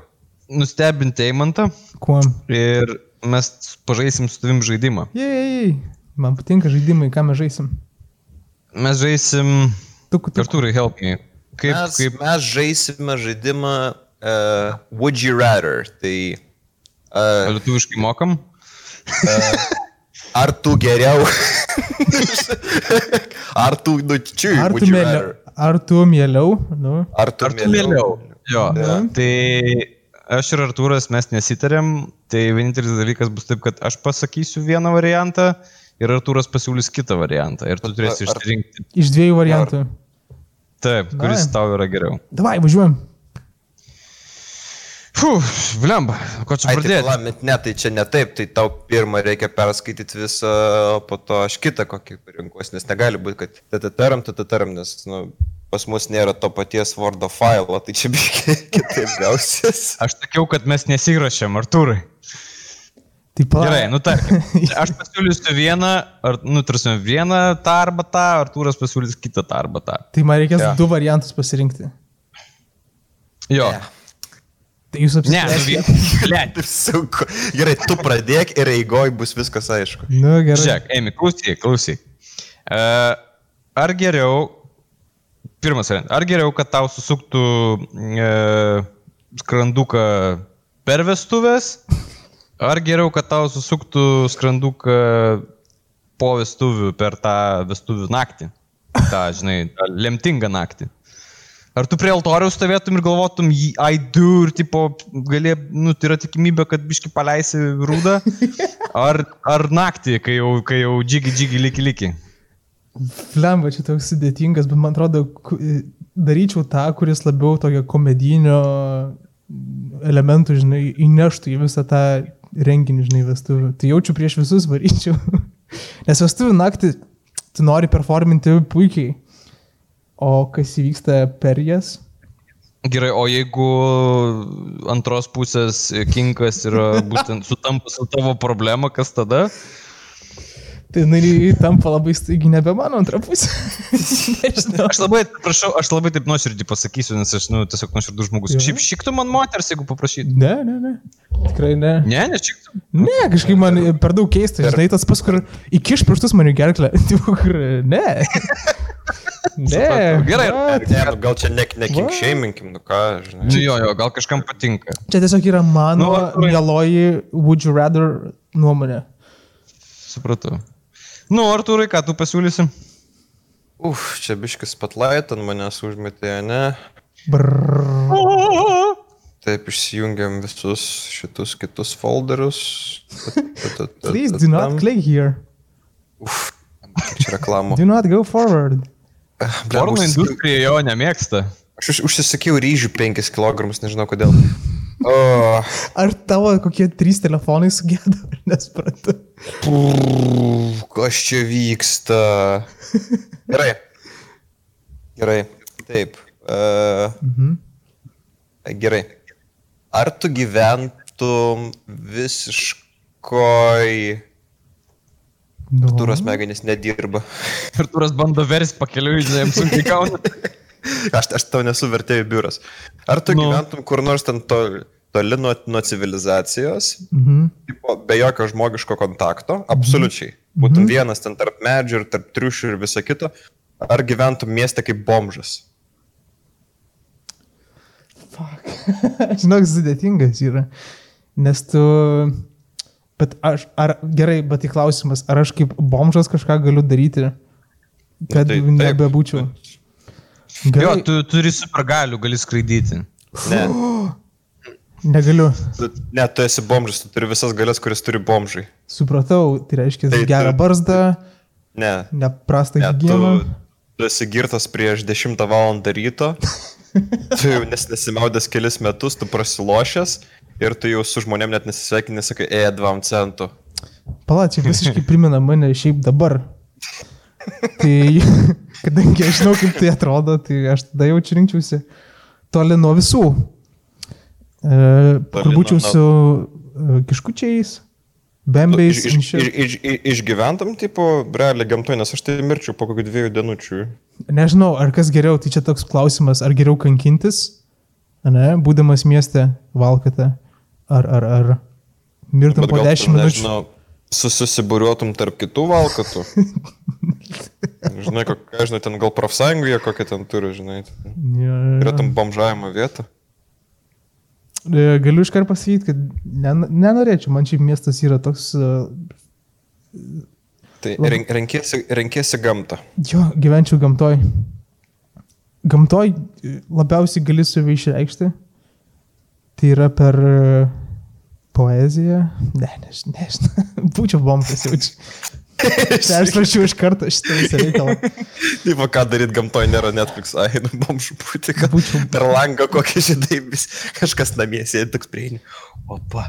[SPEAKER 1] nustebinti Eimantą.
[SPEAKER 3] Kuo?
[SPEAKER 1] Ir mes pažaisim su tavim žaidimą.
[SPEAKER 3] Jei, man patinka žaidimai, ką mes žaisim.
[SPEAKER 1] Mes žaisim.
[SPEAKER 3] Tuku, tuku.
[SPEAKER 1] Artūrai, help me. Kaip,
[SPEAKER 2] mes,
[SPEAKER 1] kaip
[SPEAKER 2] mes žaisime žaidimą uh, Would You Rather. Tai uh,
[SPEAKER 1] lietuviškai mokam?
[SPEAKER 2] ar tu geriau?
[SPEAKER 3] *laughs*
[SPEAKER 2] *laughs* ar tu nučiui?
[SPEAKER 3] Ar tu, mėliau, ar tu mieliau? Nu,
[SPEAKER 2] Ar tu
[SPEAKER 1] Ar tu mėliau? Jo.
[SPEAKER 3] Ne.
[SPEAKER 1] Tai aš ir Artūras mes nesitarėm, tai vienintelis dalykas bus taip, kad aš pasakysiu vieną variantą ir Artūras pasiūlys kitą variantą ir tu turėsi
[SPEAKER 2] ar-
[SPEAKER 1] išsirinkti.
[SPEAKER 3] Iš dviejų variantų.
[SPEAKER 1] Taip, kuris
[SPEAKER 3] Davai.
[SPEAKER 1] tau yra geriau.
[SPEAKER 3] Davai, važiuojam.
[SPEAKER 1] Fū, vlemba, ko čia
[SPEAKER 2] Ai, tai,
[SPEAKER 1] pradėti?
[SPEAKER 2] pala, bet ne, tai čia ne taip, tai tau pirmą reikia perskaityti visą, o po to aš kitą kokį rinkuosi, nes negali būti, kad tatataram, tatataram, nes nu, pas mus nėra to paties Word failo, tai čia biškai *laughs* kitaip gausis.
[SPEAKER 1] Aš sakiau, kad mes nesirašėm, Artūrai.
[SPEAKER 3] Tai pala.
[SPEAKER 1] Gerai, nu tarkim. Aš pasiūlysiu vieną, ar, nu, tarsim, vieną tą arba tą, Artūras pasiūlys kitą tą arba tą.
[SPEAKER 3] Tai man reikės
[SPEAKER 2] Jo.
[SPEAKER 3] yeah. du variantus pasirinkti.
[SPEAKER 1] Jo.
[SPEAKER 2] Ne.
[SPEAKER 3] Tai jūs
[SPEAKER 1] Ne, nu,
[SPEAKER 3] *laughs* apsispręsite.
[SPEAKER 1] vi- blet,
[SPEAKER 2] Taip sunku. Gerai, tu pradėk ir eigoj bus viskas aišku.
[SPEAKER 3] Nu, gerai.
[SPEAKER 1] Žiūrėk, Emi, klausyk, klausyk. Uh, ar geriau, pirmas variantas, ar geriau, kad tau susuktų uh, skranduką per vestuvės, ar geriau, kad tau susuktų skranduką po vestuvių per tą vestuvių naktį? Ta, žinai, tą lemtingą naktį. Ar tu prie altoriaus stovėtum ir galvotum, "Jį- ai du, ir tipo, gali, nu, tai yra tikimybė, kad biški paleisi rūdą, ar, ar naktį, kai jau, kai jau džigi, džigi, liki, liki.
[SPEAKER 3] Flemba čia toks sudėtingas, bet man atrodo, ku- daryčiau tą, kuris labiau tokio komedinio elementų, žinai, įneštų į visą tą renginį, žinai, vestuvių. Tai jaučiu prieš visus varyčiau. *laughs* Nes vestuvių naktį tu nori performinti puikiai. O kas įvyksta per jas?
[SPEAKER 1] Gerai, o jeigu antros pusės kinkas yra *laughs* būtent sutampa su tavo problema, kas tada?
[SPEAKER 3] Tai jinai tampa labai staigi nebe mano antra pusė. Nežinau.
[SPEAKER 1] Aš labai, prašau, aš labai taip nuoširdžiai pasakysiu, nes aš, nu, tiesiog nuoširdus žmogus.
[SPEAKER 3] Jo.
[SPEAKER 1] Šiaip šiktų man moters, jeigu paprašytum.
[SPEAKER 3] Ne, ne, ne. Tikrai ne.
[SPEAKER 1] Ne, nešiktų.
[SPEAKER 3] Ne, kažkaip man per daug keista, žinai, tas pas, kur įkiš pirštus man į gerklę. *laughs* Tipo, kur,
[SPEAKER 1] *laughs*
[SPEAKER 3] ne. Ne.
[SPEAKER 1] Supratau. Gerai.
[SPEAKER 3] va,
[SPEAKER 2] Ne, nu, gal čia nek, nekink
[SPEAKER 3] Va.
[SPEAKER 2] šeiminkim, nu ką, žinai.
[SPEAKER 1] Nu, jo, jo, gal kažkam patinka.
[SPEAKER 3] Čia tiesiog yra mano
[SPEAKER 1] Nu, Artūrai.
[SPEAKER 3] mieloji would you rather nuomonė.
[SPEAKER 1] Supratau. Nu, Arturai, ką tu pasiūlysi?
[SPEAKER 2] Uf, čia biškis spotlight ant manęs užmetė, ne?
[SPEAKER 3] Brrr.
[SPEAKER 2] Taip išsijungiam visus šitus kitus
[SPEAKER 3] *laughs*
[SPEAKER 2] folderius.
[SPEAKER 3] Please do not click here.
[SPEAKER 2] Čia
[SPEAKER 3] *laughs*
[SPEAKER 2] reklamų.
[SPEAKER 3] Do not go forward.
[SPEAKER 1] Porno industrija jo nemėgsta.
[SPEAKER 2] Aš už, užsisakiau ryžių 5 kg, nežinau kodėl. O,
[SPEAKER 3] Ar tavo kokie trys telefonai sugėdo, Ar *laughs* nesuprantu.
[SPEAKER 2] purr, kas čia vyksta? Gerai. Gerai. Taip. Uh,
[SPEAKER 3] Mhm.
[SPEAKER 2] gerai. Ar tu gyventum visiškoj...
[SPEAKER 3] Nu.
[SPEAKER 2] Turas smegenys nedirba. *laughs*
[SPEAKER 1] Arturas bando versti pakeliui, žinai, jam sunkiai gauna.
[SPEAKER 2] Aš, aš tau nesu vertėjų biuras. Ar tu
[SPEAKER 1] Nu.
[SPEAKER 2] nu. gyventum kur nors ten toli, toli nuo, nuo civilizacijos,
[SPEAKER 3] Mhm.
[SPEAKER 2] tipo, be jokio žmogiško kontakto, absoliučiai. Būtum vienas ten tarp medžių ir tarp triušių ir viso kito. Ar gyventum mieste kaip bomžas?
[SPEAKER 3] Fuck. *laughs* Žinok, sudėtingas yra. Nes tu... Bet aš, ar gerai, bet tai klausimas, ar aš kaip bomžas kažką galiu daryti, kad
[SPEAKER 2] tai
[SPEAKER 3] tai,
[SPEAKER 2] taip.
[SPEAKER 3] nebebūčiau.
[SPEAKER 1] Jo,
[SPEAKER 3] Gerai,
[SPEAKER 1] tu turi supergalių, gali skraidyti.
[SPEAKER 2] Ne,
[SPEAKER 3] negaliu.
[SPEAKER 2] tu, ne, tu esi bomžas, tu turi visas galės, kuris turi bomžai.
[SPEAKER 3] Supratau, tai reiškia tai,
[SPEAKER 2] Tai tu-
[SPEAKER 3] gerą tai, barzdą,
[SPEAKER 2] Ne,
[SPEAKER 3] neprastą
[SPEAKER 2] ne tu,
[SPEAKER 3] hygieną.
[SPEAKER 2] tu esi girtas prieš 10 val. ryto, tu jau nes nesimaudęs kelis metus, tu prasilošęs ir tu jau su žmonėm net nesisveikini, sakai, e, 2 centų.
[SPEAKER 3] Palačiai
[SPEAKER 2] *laughs*
[SPEAKER 3] visiškai primena mane šiaip dabar.
[SPEAKER 2] *laughs*
[SPEAKER 3] tai kadangi aš žinau, kaip tai atrodo, tai aš tada jau čia rinkčiausi toli nuo visų. E, kur
[SPEAKER 2] Toli
[SPEAKER 3] būčiau
[SPEAKER 2] nuo-
[SPEAKER 3] su e, kiškučiais,
[SPEAKER 2] Tu
[SPEAKER 3] bembiais,
[SPEAKER 2] Iš, iš,
[SPEAKER 3] iš,
[SPEAKER 2] iš, iš, iš, išgyventam, tipo, realiai gamtoje, nes aš tai mirčiau po kokių dviejų dienų.
[SPEAKER 3] nežinau, ar kas geriau, tai čia toks klausimas, ar geriau kankintis, ne, būdamas mieste valkate, ar, ar, ar mirtum
[SPEAKER 2] Bet
[SPEAKER 3] po
[SPEAKER 2] gal tu,
[SPEAKER 3] 10 minučių.
[SPEAKER 2] nežinau, su- Susibūriuotum tarp kitų
[SPEAKER 3] *laughs*
[SPEAKER 2] valkatų. žinai, kokia, žinai, ten gal profsąjungoje kokią ten turi, žinai. ten
[SPEAKER 3] Jo, jo,
[SPEAKER 2] Yra
[SPEAKER 3] jo.
[SPEAKER 2] tam bomžavimo vieta.
[SPEAKER 3] E, Galiu iškart pasakyti, kad nen- nenorėčiau, man šiaip miestas yra toks, e,
[SPEAKER 2] Tai
[SPEAKER 3] Labai-
[SPEAKER 2] ren- renkiesi, renkiesi gamtą. *laughs*
[SPEAKER 3] jo, gyvenčiau gamtoj. Gamtoj e, labiausiai gali save išreikšti, Tai yra per e, poeziją. Ne, *laughs* nežinau. Nežin. Būčiau bombas jaučiu. Perslašiau iš karto šitą visą reikalą.
[SPEAKER 2] Taip, o ką daryti gamtoje nėra Netflix, ai, nu, bomžų būti, kad
[SPEAKER 3] Būčiau.
[SPEAKER 2] per langą kokie žydai vis kažkas namie sėdi, toks prieini. Opa.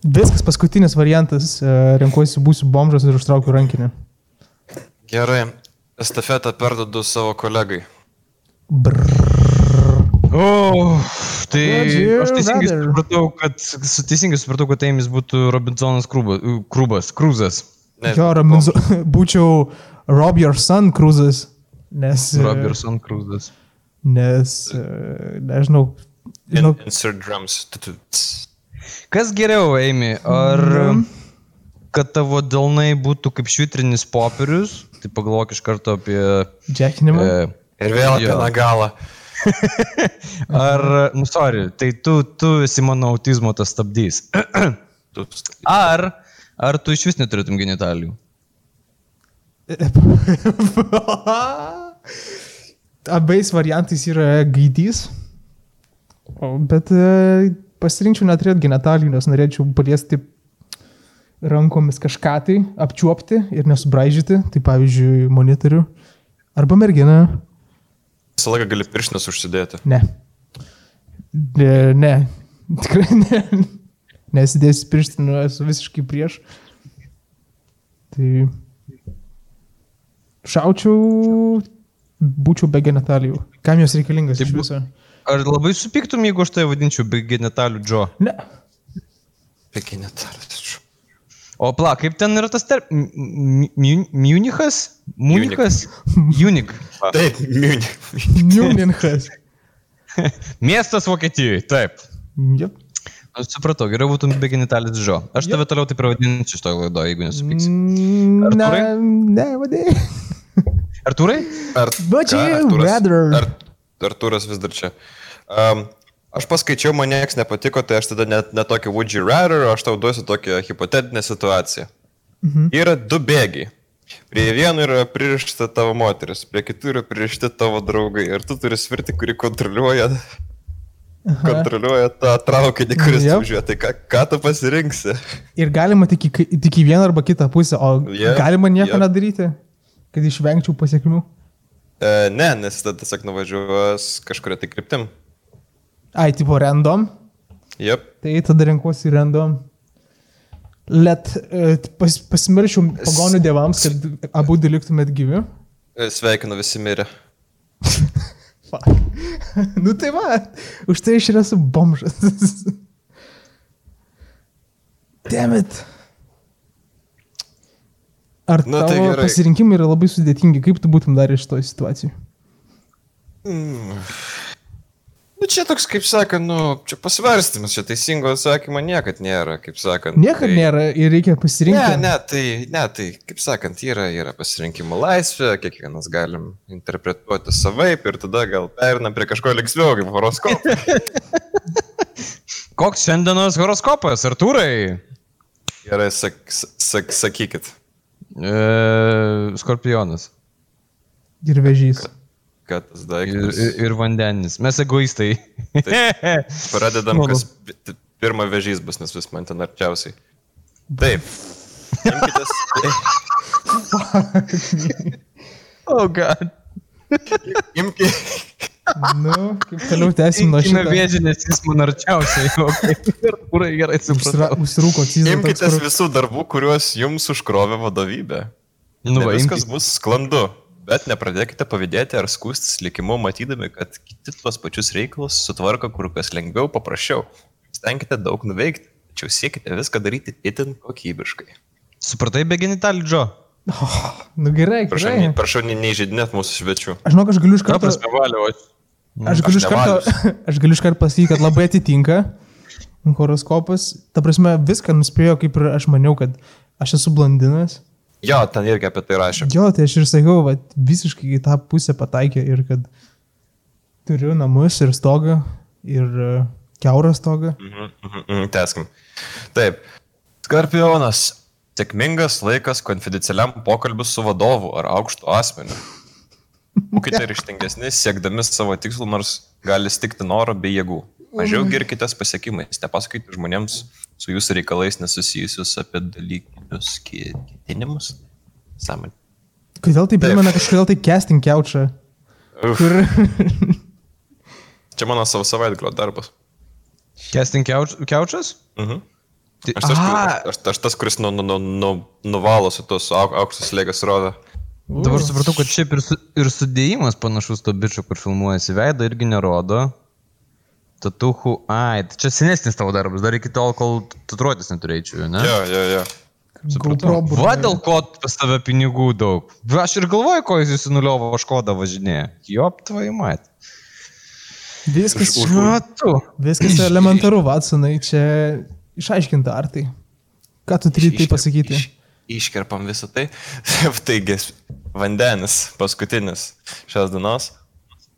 [SPEAKER 3] Viskas paskutinis variantas. e, Renkuosi, būsiu bombas ir užtraukiu rankinį.
[SPEAKER 2] Gerai, estafetą perdodu savo kolegai.
[SPEAKER 1] O, tai
[SPEAKER 3] Would you
[SPEAKER 1] aš teisingai
[SPEAKER 3] rather?
[SPEAKER 1] supratau, kad, su- teisingai supratau, kad Eimis būtų Robinsonas Krūba- Krūbas, Krūzas.
[SPEAKER 3] Jo, Raminzo, *laughs* būčiau Rob Your Son Cruises, nes... e,
[SPEAKER 1] Robinson Krūzas.
[SPEAKER 3] Nes, e, nežinau,
[SPEAKER 2] In,
[SPEAKER 3] žinau,
[SPEAKER 2] insert drums. Tu, tu, ts.
[SPEAKER 1] Kas geriau, Eimi, ar kad tavo delnai būtų kaip švitrinis popierius, tai pagalvok iš karto apie...
[SPEAKER 3] džekinimą. *laughs*
[SPEAKER 1] E,
[SPEAKER 2] Ir vėl apie
[SPEAKER 1] Jo.
[SPEAKER 2] nagalą.
[SPEAKER 1] ar, nu, sorry, tai tu, tu esi mano autizmo tas stabdys.
[SPEAKER 2] Tu-
[SPEAKER 1] Ar, ar tu iš vis neturėtum genitalijų?
[SPEAKER 3] Abais variantais yra gaidys, O, bet e, pasirinkčiau neturėti genitalijų, nes norėčiau paliesti rankomis kažką tai, apčiuopti ir nesubraižyti, tai pavyzdžiui, monitorių. Arba merginą.
[SPEAKER 2] Visą laiką gali pirštinus užsidėti.
[SPEAKER 3] Ne. Ne, ne. *laughs* tikrai ne. Nesidėsiu pirštinu, nu, esu visiškai prieš. Tai šaučiau, būčiau be genitalijų. Kam jos reikalingas
[SPEAKER 1] Tai
[SPEAKER 3] iš
[SPEAKER 1] bu-
[SPEAKER 3] viso?
[SPEAKER 1] Ar labai supiktum, jeigu aš tai vadinčiau be genitalių džo?
[SPEAKER 3] Ne.
[SPEAKER 2] Pekinė tarsi.
[SPEAKER 1] O pla, kaip ten yra tas tarp... Munichas? Munichas? Unik.
[SPEAKER 2] Taip, miūni.
[SPEAKER 3] Niuninkas.
[SPEAKER 1] Miestas Vokietijoje, taip.
[SPEAKER 3] *laughs* Jep.
[SPEAKER 1] Aš supratau, geriau būtum be genitalijos džo. Aš tave toliau taip ir vadinsiu šitoje laidoje, jeigu nesupyksi.
[SPEAKER 3] Mm, Ne,
[SPEAKER 1] Artūrai?
[SPEAKER 3] ne, vadai.
[SPEAKER 1] Artūrai?
[SPEAKER 2] Ar,
[SPEAKER 3] Would
[SPEAKER 2] ką,
[SPEAKER 3] you
[SPEAKER 2] Artūras-
[SPEAKER 3] rather?
[SPEAKER 2] Ar, Artūras vis dar čia. Um, aš paskaičiau, man nieks nepatiko, tai aš tada net ne tokį would you rather, o aš tau duosiu tokią hipotetinę situaciją. Mhm. Yra du bėgiai. Prie vieno yra pririšta tavo moteris, prie kitų yra pririšti tavo draugai. Ir tu turi svirti, kuri kontroliuoja, kontroliuoja tą traukinį, kuris
[SPEAKER 3] Jep.
[SPEAKER 2] yep. važiuoja. Tai ką, ką tu pasirinksi?
[SPEAKER 3] Ir galima tik į, kai- tik į vieną arba kitą pusę, o
[SPEAKER 2] Jep,
[SPEAKER 3] galima nieko
[SPEAKER 2] jep.
[SPEAKER 3] nedaryti, kad išvengčiau pasiekmių.
[SPEAKER 2] E, ne, nes tada tiesiog nuvažiuos kažkuria tai kryptim.
[SPEAKER 3] Ai, tipo random.
[SPEAKER 2] Jep.
[SPEAKER 3] Tai tada renkuosi random. Let e, pas, pasimiršiu pagonių dievams, kad abu du liktumėt gyvi.
[SPEAKER 2] E, Sveikinu visi mirę.
[SPEAKER 3] Fuck. *laughs* nu tai va, už tai aš ir esu bomžas. *laughs* Demet. Ar
[SPEAKER 2] Nu
[SPEAKER 3] Na,
[SPEAKER 2] tai
[SPEAKER 3] tavo
[SPEAKER 2] gerai.
[SPEAKER 3] tai pasirinkimai yra labai sudėtingi, kaip tu būtum dar iš to situacijų?
[SPEAKER 2] Mm. Nu čia toks, kaip sakant, nu, čia pasvarstymas, čia teisingo atsakymo niekad nėra, kaip sakant.
[SPEAKER 3] Niekad
[SPEAKER 2] tai...
[SPEAKER 3] tai... nėra ir reikia
[SPEAKER 2] Ne,
[SPEAKER 3] pasirinkti.
[SPEAKER 2] ne, tai, ne, tai, kaip sakant, yra, yra pasirinkimo laisvė, kiekvienas galim interpretuoti savaip ir tada gal perinam prie kažko linksmiau, kaip horoskopas.
[SPEAKER 1] Koks šiandienos horoskopas, Artūrai?
[SPEAKER 2] Gerai, sak, sak, sakykit,
[SPEAKER 1] E, skorpionas
[SPEAKER 3] Ir vežys.
[SPEAKER 2] kad tas
[SPEAKER 1] ir,
[SPEAKER 2] daiktas.
[SPEAKER 1] ir, ir vandenis. Mes egoistai.
[SPEAKER 2] Pradedam,
[SPEAKER 1] Mano-
[SPEAKER 2] kas pi- t- pirma vežys bus, nes vis man ten arčiausiai. Taip. Imkitės,
[SPEAKER 1] *laughs* O, god.
[SPEAKER 2] imki,
[SPEAKER 3] *laughs* Nu, kaip toliau tęsim nuo
[SPEAKER 1] Imkime
[SPEAKER 3] šito.
[SPEAKER 1] vėžį, nes jis man arčiausiai. *laughs* Okay. Artūrai gerai
[SPEAKER 3] Užsira-
[SPEAKER 1] supratau.
[SPEAKER 3] Užsirūko
[SPEAKER 2] imkitės
[SPEAKER 3] cizmas.
[SPEAKER 2] visų darbų, kuriuos jums užkrovė vadovybė.
[SPEAKER 1] Nu,
[SPEAKER 2] Ne
[SPEAKER 1] va,
[SPEAKER 2] viskas
[SPEAKER 1] imkis-
[SPEAKER 2] bus sklandu. Bet nepradėkite pavydėti ar skūstis likimu, matydami, kad kiti tuos pačius reikalus sutvarko kur kas lengviau, paprasčiau. Stenkite daug nuveikti, tačiau siekite viską daryti itin kokybiškai.
[SPEAKER 1] Supratai be genitalių džo?
[SPEAKER 3] Nu gerai,
[SPEAKER 2] Prašau,
[SPEAKER 3] gerai.
[SPEAKER 2] ne- prašau ne- neįžeidinėt mūsų svečių.
[SPEAKER 3] Aš žinau, aš galiu iš
[SPEAKER 1] Ta
[SPEAKER 3] karto...
[SPEAKER 1] prasme, valio. aš-
[SPEAKER 3] Aš galiu
[SPEAKER 2] aš
[SPEAKER 3] iš karto, *laughs* aš galiu iš karto pasakyti, kad labai atitinka horoskopas. Ta prasme, viską nuspėjo, kaip ir aš maniau, kad aš esu blandinas.
[SPEAKER 2] Jo, ten irgi apie tai rašė.
[SPEAKER 3] Jo, tai aš ir sakiau, va, visiškai į tą pusę pataikė ir kad turiu namus ir stogą ir e, keurą stogą.
[SPEAKER 2] Mhm, Teskim. Taip. Skorpionas. Sėkmingas laikas konfidencialiam pokalbiu su vadovu ar aukštu asmeniu. Būkite ryštingesni, siekdami savo tikslų, nors gali stikti noro bei jėgų. Mažiau girkitės pasiekimais, nepasakykite žmonėms su jūsų reikalais nesusijusius apie dalykinius ki- ketinimus. Sąmonė.
[SPEAKER 3] Kodėl tai primena kažkodėl tai casting keučą?
[SPEAKER 2] Uf.
[SPEAKER 3] Kur...
[SPEAKER 2] Čia mano savo savaitgalio darbas.
[SPEAKER 1] Casting keuč- keučas?
[SPEAKER 2] Mhm.
[SPEAKER 1] Tai-
[SPEAKER 2] Aš, tas,
[SPEAKER 1] Aha.
[SPEAKER 2] kur- aš, aš tas, kuris nu, nu, nu, nu, nuvalo su tos au- aukštas lėgas rodo.
[SPEAKER 1] Dabar supratau, kad šiaip ir, su, ir sudėjimas panašus to bičio, kur filmuojasi veidą, irgi nerodo. Tatuhų, ai, tai čia senesnis tavo darbas, dar iki tol, kol tatuiruotis neturėčiau, ne?
[SPEAKER 2] Jo, jo, jo.
[SPEAKER 3] GoPro
[SPEAKER 1] Va
[SPEAKER 3] burnoje.
[SPEAKER 1] dėl ko pas tave pinigų daug. Va, Aš ir galvoju, ko jis įsinuliovo vaškodą važinėje. Jop, tvai mat.
[SPEAKER 3] Viskas,
[SPEAKER 2] Už- už-
[SPEAKER 1] Na, tu.
[SPEAKER 3] viskas
[SPEAKER 1] *laughs*
[SPEAKER 3] elementaru, Vatsonai, čia išaiškinta ar tai. Ką tu turi tai
[SPEAKER 2] Iškerp-
[SPEAKER 3] pasakyti?
[SPEAKER 2] iš- Iškerpam visą tai. *laughs* Taigi, vandenis, paskutinis šios dienos.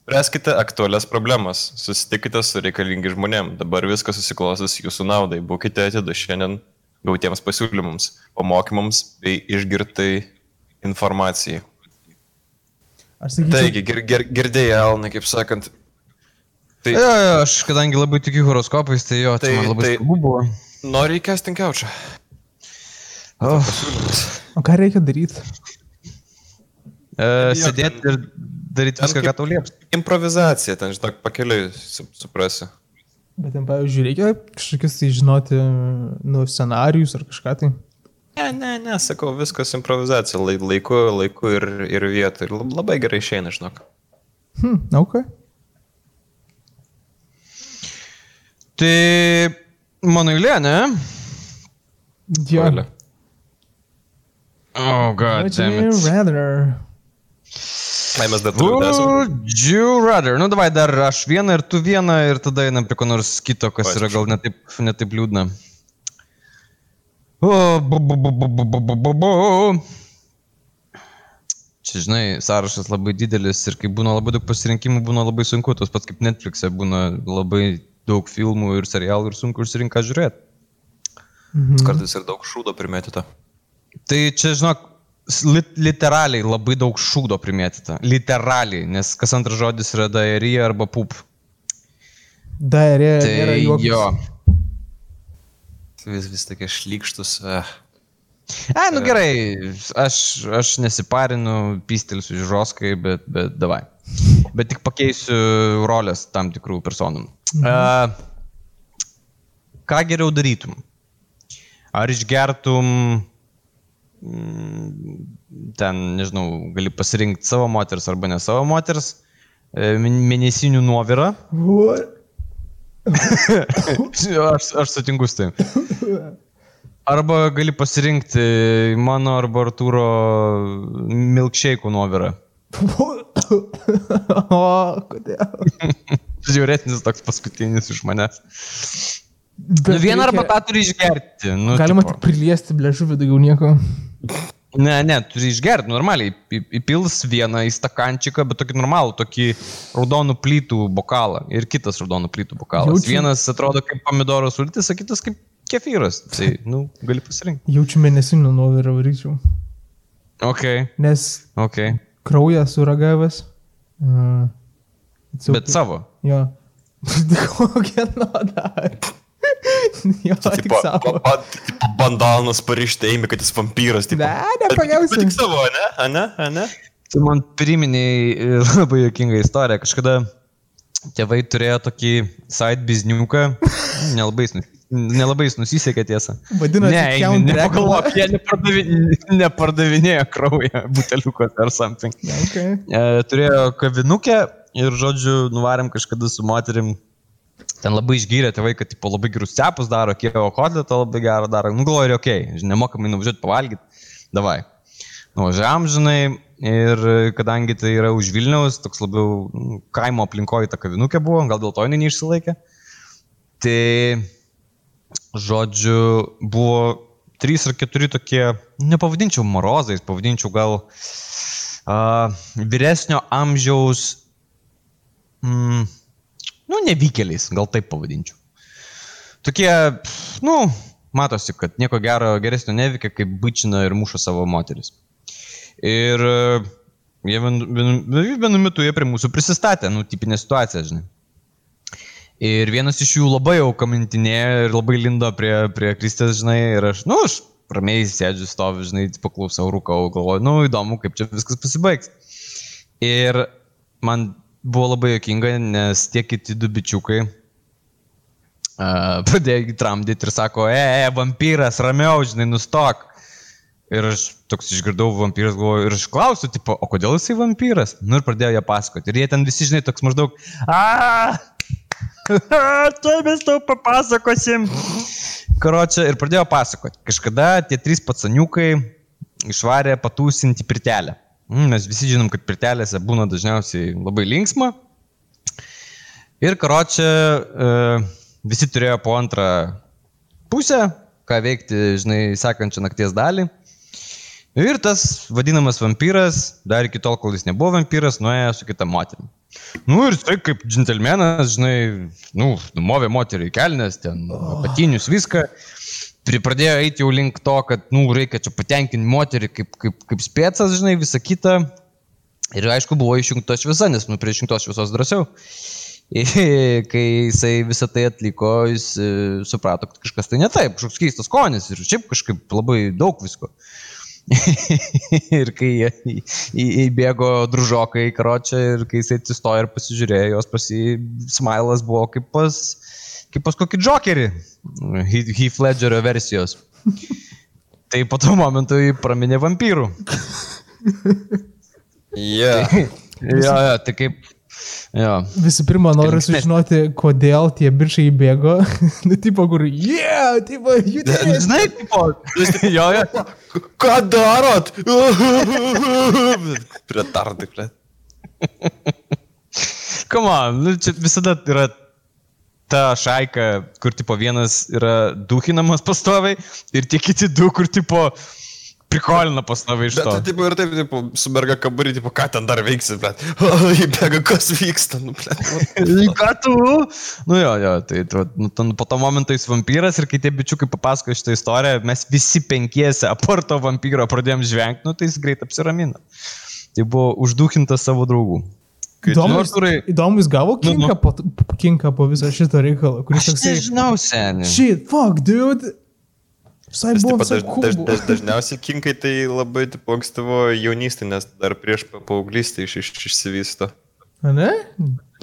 [SPEAKER 2] Spręskite aktualias problemas, susitikite su reikalingi žmonėm, dabar viskas susiklostys jūsų naudai, būkite atidu šiandien gautiems pasiūlymams, pamokymams bei išgirtai informacijai.
[SPEAKER 3] Aš
[SPEAKER 1] Mhm.
[SPEAKER 3] sakyčiau,
[SPEAKER 2] Taigi, gir, gir, girdėjai, Alna, kaip sakant, tai
[SPEAKER 1] Jo, jo, aš kadangi labai tikiu horoskopais, tai jo, tai
[SPEAKER 2] Tai-
[SPEAKER 1] man labai
[SPEAKER 2] tai-
[SPEAKER 1] svarbu buvo.
[SPEAKER 2] nori įkestinkiaučią.
[SPEAKER 1] Oh,
[SPEAKER 3] o ką reikia daryti?
[SPEAKER 1] e,
[SPEAKER 2] Jo,
[SPEAKER 1] sėdėti ir daryti
[SPEAKER 2] ten
[SPEAKER 1] viską, ką
[SPEAKER 2] kaip-
[SPEAKER 1] tau lieps.
[SPEAKER 2] Improvizacija, ten, žinok, pakeliui su- suprasi.
[SPEAKER 3] Bet ten, pavyzdžiui, reikia kažkokius tai žinoti, nu, scenarius ar kažką tai.
[SPEAKER 2] Ne, ne, ne, sakau, viskas improvizacija, lai, laiku, laiku ir, ir vietu. Ir lab- labai gerai išeina, žinok.
[SPEAKER 3] Hm, na, okay.
[SPEAKER 1] Tai mano eilė, ne?
[SPEAKER 3] Jo.
[SPEAKER 2] Valia.
[SPEAKER 1] O, oh, god,
[SPEAKER 3] Would
[SPEAKER 1] damn
[SPEAKER 3] you
[SPEAKER 1] it.
[SPEAKER 3] rather?
[SPEAKER 2] Ai, mes dar turime. esam.
[SPEAKER 1] Would you rather? Nu, davai dar aš vieną ir tu vieną ir tada einam prie ko nors kito, kas
[SPEAKER 2] Oi,
[SPEAKER 1] yra gal netaip, netaip liūdna. O, bu, bu, bu, bu, bu, bu, bu, bu, bu. Čia, žinai, sąrašas labai didelis ir kai būna labai daug pasirinkimų, būna labai sunku, tas pats kaip Netflix'e būna labai daug filmų ir serialų ir sunku išsirinką žiūrėti.
[SPEAKER 2] Kartais ir daug šūdo primėtyta.
[SPEAKER 1] Tai čia, žinok, s- lit- literaliai labai daug šūdo primėtyta. Literaliai, nes kas antras žodis yra diarija arba pup.
[SPEAKER 3] Dairė.
[SPEAKER 1] Tai jo.
[SPEAKER 2] Vis, vis tokie šlykštus. Eh.
[SPEAKER 1] A, nu gerai, aš, aš nesiparinu, pistelsiu žiūroskai, bet, bet davai. Bet tik pakeisiu rolės tam tikrų personų. A, ką geriau darytum? Ar išgertum, mm, ten, nežinau, gali pasirinkti savo moters arba ne savo moters, e, mėn- mėnesinių nuovirą?
[SPEAKER 3] What? *laughs*
[SPEAKER 1] Jo, aš, aš sutinku su tai. Arba gali pasirinkti mano arba Arturo milkšeikų nuovirą.
[SPEAKER 3] o, kodėl?
[SPEAKER 1] Žiūrėtinis toks paskutinis iš manęs. Nu, vieną arba tą turi išgerti. Nu,
[SPEAKER 3] Galima
[SPEAKER 1] tipo.
[SPEAKER 3] tik priliesti bležuvį daugiau nieko.
[SPEAKER 1] Ne, ne, turi išgerti nu, normaliai. Į- Įpils vieną į stakančiką, bet tokį normalų, tokį raudonų plytų bokalą ir kitas raudonų plytų bokalas.
[SPEAKER 3] Jaučiu-
[SPEAKER 1] Jaučiu. Vienas atrodo kaip pomidoro sultis, o kitas kaip kefyras. Tai, nu, gali pasirinkti.
[SPEAKER 3] Jaučiu mėnesinį nuovirą varyčiau.
[SPEAKER 1] Ok,
[SPEAKER 3] Nes
[SPEAKER 1] ok.
[SPEAKER 3] kraują suragavęs. Uh,
[SPEAKER 1] Bet savo.
[SPEAKER 3] Jo. *laughs* Kokią naudą. *laughs* jo,
[SPEAKER 2] Tai
[SPEAKER 3] tik savo.
[SPEAKER 2] Bandanas parišti, eimi, kad jis vampyras. Tipo.
[SPEAKER 3] Ne,
[SPEAKER 2] Bet
[SPEAKER 3] nepagausiu.
[SPEAKER 2] Tik savo, ne? Ane? Ane?
[SPEAKER 1] Tu man priminėjai e, *laughs* labai jokingą istoriją. Kažkada tėvai turėjo tokį side bizniuką. Nelabai, jis nu- nelabai jis nusisekė tiesą.
[SPEAKER 3] Vadinasi,
[SPEAKER 1] ne,
[SPEAKER 3] Count
[SPEAKER 1] eini,
[SPEAKER 3] Dracula.
[SPEAKER 1] nepagalvok, jie nepardavi- nepardavinėjo kraują buteliukos ar something.
[SPEAKER 3] Ne, okay.
[SPEAKER 1] E, turėjo kavinukę ir, žodžiu, nuvarėm kažkada su moterim. Ten labai išgyrė tėvai, kad tipo, labai gerus cepus daro, kievo kotletą labai gerą daro. Nu, galvoju, ir okei, okay, nemokamai nuvažiuoti pavalgyti. Davai. Nuvažiavam, žinai, ir kadangi tai yra už Vilniaus, toks labiau nu, kaimo aplinkoje ta kavinukė buvo, gal dėl to jinai neišsilaikė. Tai, žodžiu, buvo trys ar keturi tokie, nepavadinčiau morozais, pavadinčiau gal a, vyresnio amžiaus, mm, nu, nevykėliais, gal taip pavadinčiau. Tokie, pf, nu, matosi, kad nieko gero, geresnio neveikia, kaip bučina ir muša savo moteris. Ir e, jie vienu, vienu, vienu metu jie prie mūsų prisistatė, nu, tipinė situacija, žinai. Ir vienas iš jų labai jau kamintinėjo ir labai lindo prie, prie Kristės, žinai, ir aš, nu, aš ramiai sėdžiu, stoviu, žinai, paklausau, rūkau, galvoju, nu, įdomu, kaip čia viskas pasibaigs. Ir man buvo labai jokinga, nes tie kiti du bičiukai uh, pradėjo jį tramdyti ir sako, e, e, vampyras, ramiau, žinai, nustok. Ir aš toks išgirdau vampyras, galvoju, ir aš klausiu, tipo, o kodėl jisai vampyras? Nu ir pradėjo jie pasakoti. Ir jie ten visi, žinai, toks maždaug, aaa, *laughs* tuoj mes tau papasakosim. Karočią, ir pradėjo pasakoti. Kažkada tie trys patsaniukai išvarė patūsinti pirtelę. Mm, Mes visi žinom, kad pirtelėse būna dažniausiai labai linksma. Ir karočią, visi turėjo po antrą pusę, ką veikti, žinai, sekančią nakties dalį. Ir tas vadinamas vampyras, dar iki tol, kol jis nebuvo vampyras, nuėjo su kita moterimi. Nu ir tai kaip džentelmenas, žinai, nu, numovė moterį į kelnes, ten apatinius viską. Pri- Pradėjo eiti jau link to, kad, nu, reikia čia patenkinti moterį kaip, kaip, kaip spėcas, žinai, visą kitą. Ir aišku, buvo išjungta šviesa, nes, nu, prie išjungtos šviesos drąsiau. *laughs* Kai jisai visą tai atliko, jis e, suprato, kad kažkas tai ne taip, kažkoks keistas skonis ir šiaip kažkaip labai daug visko. *laughs* ir kai jie į- į- įbėgo družokai į karočią ir kai jisai atsistojo ir pasižiūrėjo, jos pasi smilas buvo kaip pas, kaip pas kokį džokerį, Heath Heath Ledgerio versijos. Tai po to momentu jį praminė vampyrų.
[SPEAKER 2] Yeah.
[SPEAKER 1] *laughs* Jo, jo, tai kaip. Jo.
[SPEAKER 3] Visų pirma, noriu
[SPEAKER 1] Linksmesnis.
[SPEAKER 3] sužinoti, kodėl tie bičiai įbėgo. *laughs* Nu, tipo, kur, yeah, tipo,
[SPEAKER 2] *laughs*
[SPEAKER 3] judės.
[SPEAKER 1] Žinai, tipo, jo, jo.
[SPEAKER 2] Ką darot? *laughs* Retardai, ble.
[SPEAKER 1] Come on, nu, čia visada yra ta šaika, kur tipo vienas yra duhinamas pastoviai ir tie kiti du, kur tipo prikolina pastoviai iš
[SPEAKER 2] Bet
[SPEAKER 1] to.
[SPEAKER 2] tai taip ir taip, tipo, su merga kambarį, tipo, ką ten dar veiksi, ble. *laughs* Įbėga, kas vyksta, nu, ble.
[SPEAKER 1] Į Ką tu? Nu jo, jo, tai tu, nu, ten po to momento jis vampyras ir kai tie bičiukai papasakojo šitą istoriją, mes visi penkiese aporto vampyro pradėjom žvengti, nu tai jis greit apsiramino. Tai buvo užduhintas savo draugų.
[SPEAKER 3] Įdomu,
[SPEAKER 1] Nors, Arturai,
[SPEAKER 3] įdomu, jis gavo
[SPEAKER 1] Nu, nu.
[SPEAKER 3] kinką po, kinką po viso šito reikalo, kuris
[SPEAKER 1] Aš
[SPEAKER 3] toksai...
[SPEAKER 1] nežinau, seniai.
[SPEAKER 3] Shit, fuck, dude. Visai
[SPEAKER 2] Nes
[SPEAKER 3] buvo
[SPEAKER 2] taip pat
[SPEAKER 3] visai
[SPEAKER 2] daž, daž,
[SPEAKER 3] cool.
[SPEAKER 2] daž, dažniausiai kinkai tai labai tipo ankstyvo jaunystė, nes dar prieš pa- paauglystę iš, iš, išsivysto.
[SPEAKER 3] A Ne?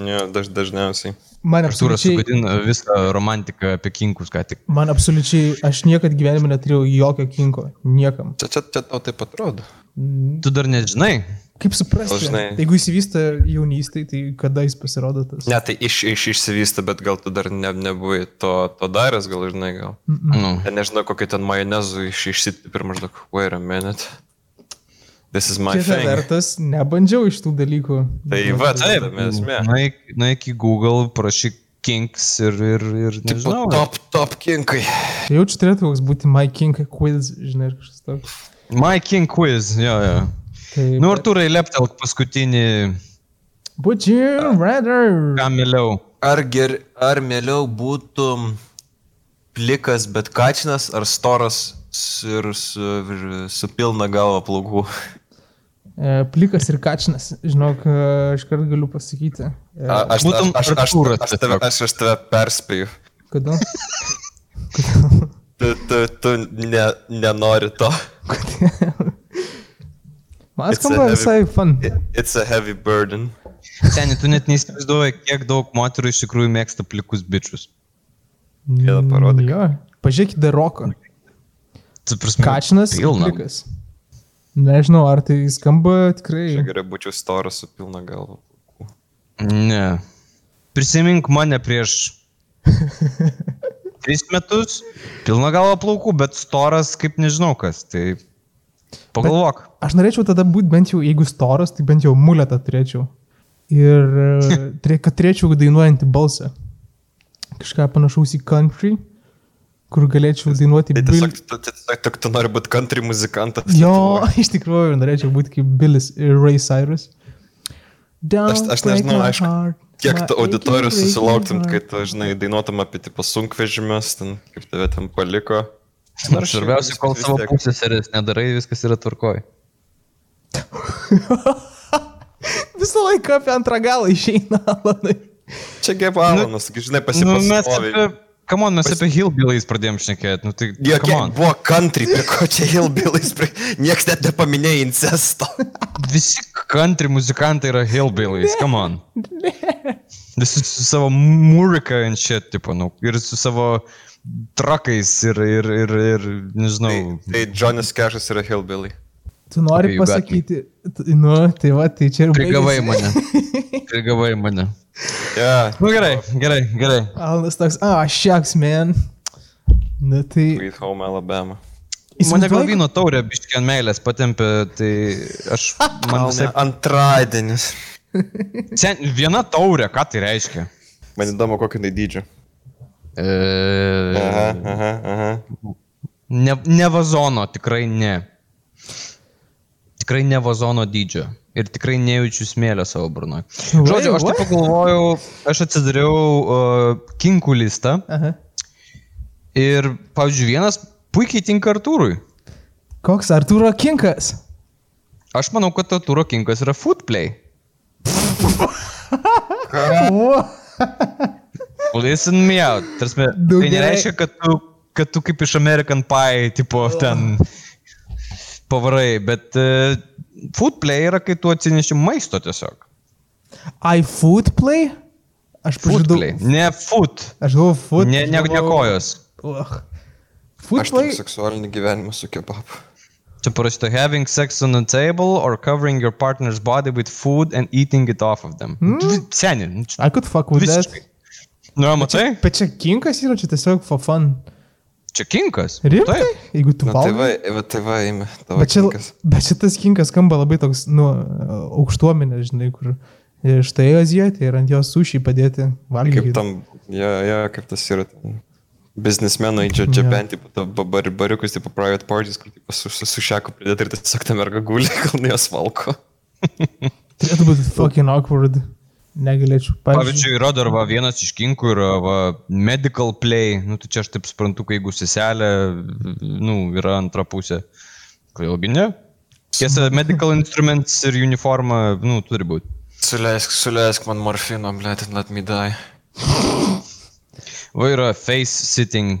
[SPEAKER 2] Ne, daž, dažniausiai.
[SPEAKER 3] Man
[SPEAKER 1] Artūras
[SPEAKER 3] absoliučiai,
[SPEAKER 1] sugadino visą romantiką apie kinkus ką tik.
[SPEAKER 3] man absoliučiai, aš niekad gyvenime neturėjau jokio kinko. Niekam.
[SPEAKER 2] Čia, čia, čia tau taip atrodo.
[SPEAKER 1] Tu dar nežinai.
[SPEAKER 3] Kaip suprasti?
[SPEAKER 2] Gal žinai-
[SPEAKER 3] Jeigu įsivysta jaunystėje, tai kada jis pasirodo tas?
[SPEAKER 2] Ne, tai iš, iš, išsivysto, bet gal tu dar ne, nebuvai to, to daręs, gal žinai, gal.
[SPEAKER 3] Mm.
[SPEAKER 1] Nu.
[SPEAKER 2] Ten nežinau, kokį ten majonezų iš, išsitipi ir maždaug, wait a minute. This is my
[SPEAKER 3] Kita
[SPEAKER 2] thing.
[SPEAKER 3] vertas, nebandžiau iš tų dalykų.
[SPEAKER 2] Tai va, tai tame esmė.
[SPEAKER 3] Mm.
[SPEAKER 1] Nueik nueik nu, į Google, prašyk kinks ir, ir, ir
[SPEAKER 2] Tipo,
[SPEAKER 1] nežinau.
[SPEAKER 2] top, top kinkai.
[SPEAKER 3] Tai Jaučiu turėtų koks būti My King Quiz, žinai, ar kažkas toks.
[SPEAKER 1] My king quiz, jo, jo.
[SPEAKER 3] Tai,
[SPEAKER 1] Nu, Artūrai, leptelk paskutinį,
[SPEAKER 3] Would you rather?
[SPEAKER 1] ką mieliau.
[SPEAKER 2] Ar, ger, ar mieliau būtų plikas, bet kačinas, ar storas su- ir su, ir su pilna galva plaukų?
[SPEAKER 3] E, Plikas ir kačinas, žinok, e, iškart galiu pasakyti. E,
[SPEAKER 2] A- Aš, aš,
[SPEAKER 1] Būtum
[SPEAKER 2] aš, aš,
[SPEAKER 1] Artūras
[SPEAKER 2] aš, tave,
[SPEAKER 1] tiesiog.
[SPEAKER 2] aš, aš tave perspėju.
[SPEAKER 3] Kodėl? *laughs*
[SPEAKER 2] Tu, tu, tu ne, nenori to.
[SPEAKER 3] Man
[SPEAKER 2] It's a
[SPEAKER 3] skamba
[SPEAKER 2] heavy-
[SPEAKER 3] visai fun.
[SPEAKER 2] It's a heavy burden.
[SPEAKER 1] Seniai, tu net neįsivaizduoji, kiek daug moterų iš tikrųjų mėgsta plikus bičius.
[SPEAKER 2] Vėl parodyk.
[SPEAKER 3] Mm,
[SPEAKER 2] Nu,
[SPEAKER 3] Jo, pažiūrėkit, Daroko.
[SPEAKER 1] Tu prasme,
[SPEAKER 3] Kačinas ir
[SPEAKER 1] pilna.
[SPEAKER 3] plikas. Nežinau, ar tai skamba tikrai.
[SPEAKER 2] Čia gerai būčiau storas su pilna galva. plaukų.
[SPEAKER 1] Ne. Prisimink mane
[SPEAKER 2] *laughs*
[SPEAKER 1] prieš tris metus, pilna galva plaukų, bet storas kaip nežinau kas. Tai pagalvok.
[SPEAKER 3] Aš norėčiau tada būti bent jau, jeigu storas, tai bent jau muletą turėčiau. Ir e,
[SPEAKER 2] *laughs*
[SPEAKER 3] turė- kad turėčiau dainuojantį balsą. Kažką panašaus į country, kur galėčiau dainuoti
[SPEAKER 2] Tai
[SPEAKER 3] Bill.
[SPEAKER 2] tiesiog, tu, tiesiog tu, tu nori būti country muzikantas.
[SPEAKER 3] Jo,
[SPEAKER 2] Lietuvoj.
[SPEAKER 3] *laughs* iš tikrųjų, norėčiau būti kaip Billis ir Ray Cyrus.
[SPEAKER 2] Aš, aš nežinau, aišku, kiek
[SPEAKER 3] tai
[SPEAKER 2] tu auditorijos susilauktum, kai tu, žinai, dainuotum apie tipo sunkvežimės, ten, kaip tave ten paliko.
[SPEAKER 1] Nors svarbiausia, kol
[SPEAKER 2] vis
[SPEAKER 1] savo
[SPEAKER 2] tiek-
[SPEAKER 1] pusės eres nedarai, viskas yra tvarkoj.
[SPEAKER 3] Visą laiką apie antrą galą išeina, Alanai.
[SPEAKER 2] Čia gebalanas, nu, žinai, pasipasakė.
[SPEAKER 1] mes apie... Kamon, mes apie Hillbillies pradėjom šnekėti. Nu, tai,
[SPEAKER 2] Jokie
[SPEAKER 1] come on.
[SPEAKER 2] buvo country, prie ko čia Hillbillies, prie... niekas net nepaminėjo
[SPEAKER 1] *laughs*
[SPEAKER 2] incesto.
[SPEAKER 1] Visi country muzikantai yra Hillbillies, come
[SPEAKER 2] *laughs*
[SPEAKER 1] on. Visi su savo murika and shit, tipo, nu, ir su savo trakais ir, ir, ir, ir
[SPEAKER 2] Tai,
[SPEAKER 1] nežinau.
[SPEAKER 2] tai Johnny Cashas yra Hillbilly.
[SPEAKER 3] Tu
[SPEAKER 1] Okay, you
[SPEAKER 3] nori okay,
[SPEAKER 1] got
[SPEAKER 3] pasakyti, t- nu, tai va, tai čia ir
[SPEAKER 1] Prigavai
[SPEAKER 3] baigėsi.
[SPEAKER 1] mane. Prigavai mane.
[SPEAKER 2] Yeah.
[SPEAKER 1] Na nu, gerai, gerai, gerai.
[SPEAKER 3] Alanas toks, a, šiaks, man. Na tai...
[SPEAKER 2] Sweet Home Alabama.
[SPEAKER 1] Mane gal
[SPEAKER 3] įsivaizduoji,
[SPEAKER 1] vyno taurė biškiai ant meilės patempė, tai aš... Man visai...
[SPEAKER 2] Antradienis.
[SPEAKER 1] Sen, viena taurė, ką tai reiškia?
[SPEAKER 2] Man įdomu, kokio tai dydžio. Aha,
[SPEAKER 1] E,
[SPEAKER 2] aha, aha.
[SPEAKER 1] ne, ne vazono, tikrai ne. Tikrai ne vazono dydžio. Ir tikrai nejaučiu smėlio savo burnoje. Žodžiu, aš
[SPEAKER 3] what?
[SPEAKER 1] taip pagalvojau, aš atsidariau uh, kinkų listą
[SPEAKER 3] Aha.
[SPEAKER 1] ir, pavyzdžiui, vienas puikiai tinka Artūrui.
[SPEAKER 3] Koks Arturo Kinkas?
[SPEAKER 1] Aš manau, kad Artūro kinkas yra footplay.
[SPEAKER 3] O,
[SPEAKER 1] Listen me out. Tarsi,
[SPEAKER 3] Nu,
[SPEAKER 1] tai
[SPEAKER 3] gerai.
[SPEAKER 1] nereiškia, kad tu, kad tu kaip iš American Pie, tipo,
[SPEAKER 3] Oh.
[SPEAKER 1] ten pavarai, bet uh, food play yra, kai tu atsineši maisto tiesiog.
[SPEAKER 3] iFood play? Aš
[SPEAKER 1] Food
[SPEAKER 3] pažadau.
[SPEAKER 1] play. Ne food.
[SPEAKER 3] Aš galvoju, food.
[SPEAKER 1] Ne, ne, ne kojos.
[SPEAKER 3] Oh. Food
[SPEAKER 2] Aš turiu
[SPEAKER 3] play.
[SPEAKER 2] seksualinį gyvenimą su kebabu.
[SPEAKER 1] Čia parašyta having sex on a table or covering your partner's body with food and eating it off of them.
[SPEAKER 3] Hmm?
[SPEAKER 1] Mm. Seniai. nu, čia
[SPEAKER 3] I could fuck with that.
[SPEAKER 1] Visiškai. Nu, va, matai?
[SPEAKER 3] Bet čia Kinkas yra čia tiesiog for fun.
[SPEAKER 1] Čia kinkas.
[SPEAKER 3] Rimtai?
[SPEAKER 1] Taip.
[SPEAKER 3] Jeigu tu
[SPEAKER 2] Na, tai
[SPEAKER 3] valgai.
[SPEAKER 2] va, va, tai va, ime. Tavo
[SPEAKER 3] Bet čia,
[SPEAKER 2] čia...
[SPEAKER 3] bet šitas kinkas skamba labai toks, nu, aukštuomenė, žinai, kur e, štai azijietė ir ant jos sušiai padėti
[SPEAKER 2] Kaip
[SPEAKER 3] valgyti.
[SPEAKER 2] tam, ja, ja, kaip tas yra. ten. Biznismenai čia čia
[SPEAKER 3] Jo.
[SPEAKER 2] bent į barbariukus, tipo private parties, kur tipo, su, su, su šeku pridėti ir tiesiog ta merga guli, *laughs* kol ne jos valko.
[SPEAKER 3] Turėtų būti fucking awkward. Negalėčiau.
[SPEAKER 1] Pavyzdžiui, rodo arba vienas iš kinkų yra va, medical play, nu tai čia aš taip suprantu, kai jeigu seselė, nu, yra antra pusė. Kodėlgi ne? Tiesa, medical instruments ir uniforma, nu, turi būti.
[SPEAKER 2] Suleisk, suleisk man morfino, blėt, let me die.
[SPEAKER 1] Va yra face sitting.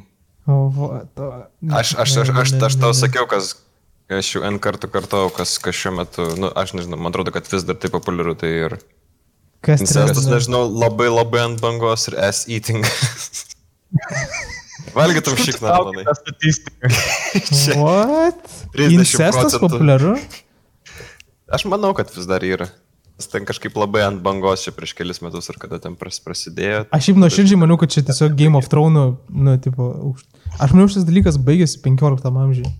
[SPEAKER 3] O, va, to,
[SPEAKER 2] Aš, aš, aš, aš, aš tau sakiau, kas, aš jau N kartų kartau, kas, kas šiuo metu, nu, aš nežinau, man atrodo, kad vis dar tai populiaru, tai ir
[SPEAKER 3] Kas
[SPEAKER 2] incestas,
[SPEAKER 3] trečia?
[SPEAKER 2] nežinau, labai labai ant bangos ir S eating. *laughs* Valgytum šikną, manai.
[SPEAKER 1] statistika.
[SPEAKER 2] čia.
[SPEAKER 3] What?
[SPEAKER 2] 30
[SPEAKER 3] Incestas
[SPEAKER 2] procentų.
[SPEAKER 3] populiaru?
[SPEAKER 2] Aš manau, kad vis dar yra. Jis ten kažkaip labai ant bangos čia prieš kelis metus ir kada ten pras, prasidėjo.
[SPEAKER 3] Aš šiaip nuoširdžiai maniau, kad čia tiesiog Game of Thrones, nu, tipo, aukšt... aš maniau, šis dalykas baigėsi 15 amžiuje.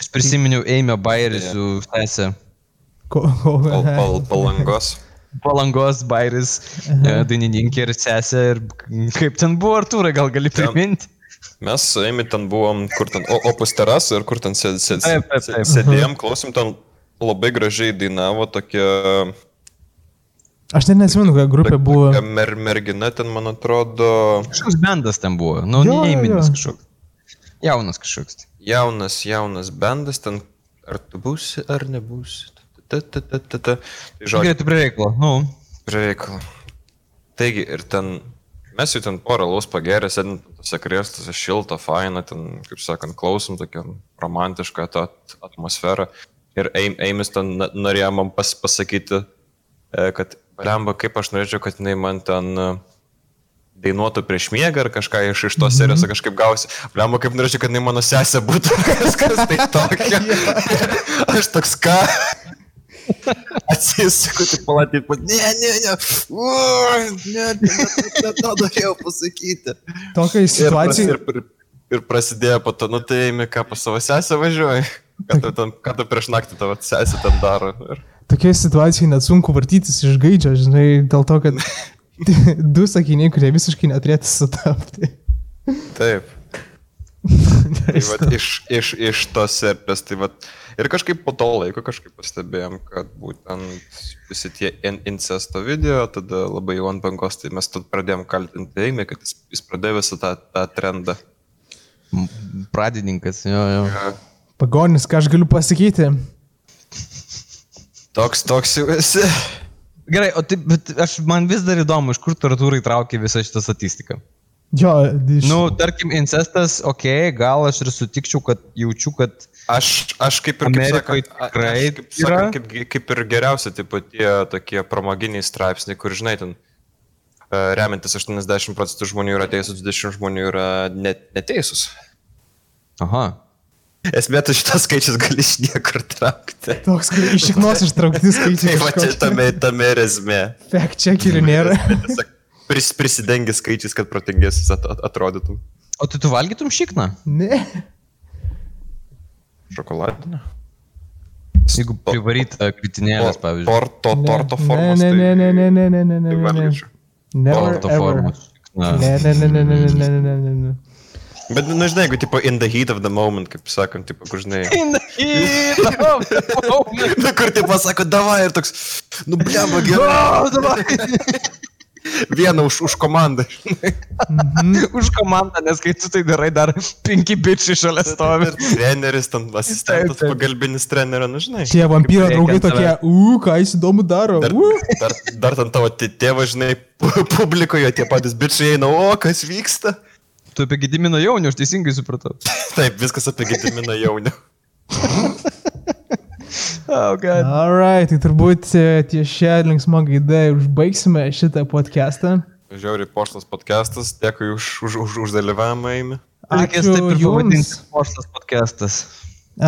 [SPEAKER 1] Aš prisiminiau Eimio Bairį su sesė.
[SPEAKER 3] Ko, ko,
[SPEAKER 2] Pal, pal, palangos.
[SPEAKER 1] Palangos Bairis, e, dainininkė ir sesė. Ir kaip ten buvo, Artūrai, gal gali priminti?
[SPEAKER 2] Mes su Emi ten buvom, kur ten o- opus terasa ir kur ten sėd, sėd,
[SPEAKER 1] Taip, taip, taip.
[SPEAKER 2] sėdėjom, klausim, ten labai gražiai dainavo tokia
[SPEAKER 3] Aš net nesimenu, kokia grupė buvo.
[SPEAKER 2] Tokia Mer, mergina ten, man atrodo,
[SPEAKER 1] Kažkoks bendas ten buvo, nu,
[SPEAKER 3] Jo,
[SPEAKER 1] neįminis
[SPEAKER 3] jo.
[SPEAKER 1] kažkoks. Jaunas kažkoks.
[SPEAKER 2] jaunas, jaunas bendas ten, ar tu būsi, ar nebūsi. Ta, ta, ta, ta, ta. Tai žodžiu,
[SPEAKER 1] Žiūrėtų prie reikalo, nu.
[SPEAKER 2] prireikalo. Taigi, ir ten, mes jau ten porą laus pagerę, sėdint tose krėstuose, šilta, faina, ten, kaip sakant, klausom tokią romantišką tą at- atmosferą. Ir Eim- Eimis ten na- norėjo man pas, pasakyti, e, kad, blemba, kaip aš norėčiau, kad jinai man ten e, dainuotų prieš miegą ar kažką iš, iš tos serijos ar kažkaip gausi. Blemba, kaip norėčiau, kad jinai mano sesė būtų *laughs* kažkas tai tokia. Aš toks ką. Atsisuku, tik palatyti, pat, ne, ne, ne, U, ne, ne, ne, ne, to norėjau pasakyti.
[SPEAKER 3] Tokiai
[SPEAKER 2] Ir, pras,
[SPEAKER 3] situacijai.
[SPEAKER 2] ir, pr- ir prasidėjo po to, nu tai, Eimi, ką pas savo sesę važiuoji, ką tu, ten, ką tu prieš naktį tavo sesė ten daro. Ir...
[SPEAKER 3] Tokiai situacijai net sunku vartytis iš gaidžio, žinai, dėl to, kad
[SPEAKER 2] *laughs*
[SPEAKER 3] du sakiniai, kurie visiškai neturėtų sutapti.
[SPEAKER 2] Taip. Tai va, iš, iš, iš tos serpės, tai va. Ir kažkaip po to laiko kažkaip pastebėjom, kad būtent visi tie in- incesto video, tada labai jau ant bangos, tai mes tad pradėjom kaltinti Eimį, kad jis, jis pradėjo visą tą, tą trendą.
[SPEAKER 1] M- Pradininkas, jo, jo.
[SPEAKER 3] Pagonis, ką aš galiu pasakyti?
[SPEAKER 2] Toks, toks jau esi.
[SPEAKER 1] Gerai, o taip, bet aš, man vis dar įdomu, iš kur Artūrai traukia visą šitą statistiką.
[SPEAKER 3] Jo, iš...
[SPEAKER 1] Nu, tarkim, incestas, okei, okay, gal aš ir sutikčiau, kad jaučiu, kad...
[SPEAKER 2] Aš, aš kaip ir kaip
[SPEAKER 1] Amerikoj
[SPEAKER 2] sakant, a- aš
[SPEAKER 1] tikrai
[SPEAKER 2] kaip,
[SPEAKER 1] yra.
[SPEAKER 2] sakant, kaip, gi- kaip ir geriausia, tipo tie tokie pramoginiai straipsniai, kur žinai, ten e, remiantis 80 procentų žmonių yra teisūs, 20 žmonių yra net, neteisūs.
[SPEAKER 1] Aha.
[SPEAKER 2] Esmė, tu šitas skaičius gali iš niekur traukti.
[SPEAKER 3] *laughs* Toks, kai iš šiknos ištraukti skaičiai.
[SPEAKER 2] *laughs* Tai va čia tame, tame ir esmė.
[SPEAKER 3] Fek
[SPEAKER 2] *laughs*
[SPEAKER 3] čekerių nėra.
[SPEAKER 2] Tiesiog Pris, prisidengi skaičius, kad protingesnis at, at, atrodytum.
[SPEAKER 1] O tai tu valgytum šikną?
[SPEAKER 3] Ne.
[SPEAKER 2] Šokoladinė.
[SPEAKER 1] Jeigu privaryta kritinėlės, pavyzdžiui.
[SPEAKER 2] Torto, torto
[SPEAKER 3] Ne,
[SPEAKER 2] formos.
[SPEAKER 3] Ne, ne, ne, ne, ne, ne, ne, ne,
[SPEAKER 2] Tai
[SPEAKER 3] ne, ne.
[SPEAKER 2] valgyčiau.
[SPEAKER 3] Never
[SPEAKER 1] Torto
[SPEAKER 3] ever.
[SPEAKER 1] formos. šikna.
[SPEAKER 3] Ne, ne, ne, ne, ne, ne, ne, ne, ne, ne.
[SPEAKER 2] Bet, nu, žinai, jeigu, tipo, in the heat of the moment, kaip sakom, tipo, kur, žinai.
[SPEAKER 1] In the heat of the moment.
[SPEAKER 2] *laughs* Na, kur, tipo, sako, davai ir toks, nu, blemba, *laughs* gerai.
[SPEAKER 1] O, dabar
[SPEAKER 2] Vieną už, už komandą.
[SPEAKER 3] Mhm.
[SPEAKER 1] *laughs* Už komandą, nes kai tu tai darai, dar penki bičiai šalia stovi.
[SPEAKER 2] *laughs* Ir treneris, ten asistentas,
[SPEAKER 1] Taip, taip.
[SPEAKER 2] pagalbinis trenerio, nu, žinai.
[SPEAKER 3] Šie vampyro
[SPEAKER 1] Kaip
[SPEAKER 3] draugai
[SPEAKER 1] reikiant
[SPEAKER 3] tokie,
[SPEAKER 1] tave.
[SPEAKER 3] u, ką jis įdomu daro.
[SPEAKER 2] Dar,
[SPEAKER 3] U,
[SPEAKER 2] dar, dar ten tavo tė- tėvas, žinai, pu- publikoje tie patys bičiai eina, o kas vyksta? *laughs*
[SPEAKER 1] Tu apie Gediminą jaunį, aš teisingai supratau.
[SPEAKER 2] Taip, viskas apie Gediminą jaunį.
[SPEAKER 1] Oh, God.
[SPEAKER 3] Alright, tai turbūt e, ties šią linksmą gaidą ir užbaigsime šitą podcastą.
[SPEAKER 2] Žiauri poštas podcastas, dėkui už, už, už, už dalyvavimą, Aimi.
[SPEAKER 1] Reikės
[SPEAKER 3] Ačiū
[SPEAKER 1] taip ir
[SPEAKER 3] jums.
[SPEAKER 1] pavadinti Forsas podcastas.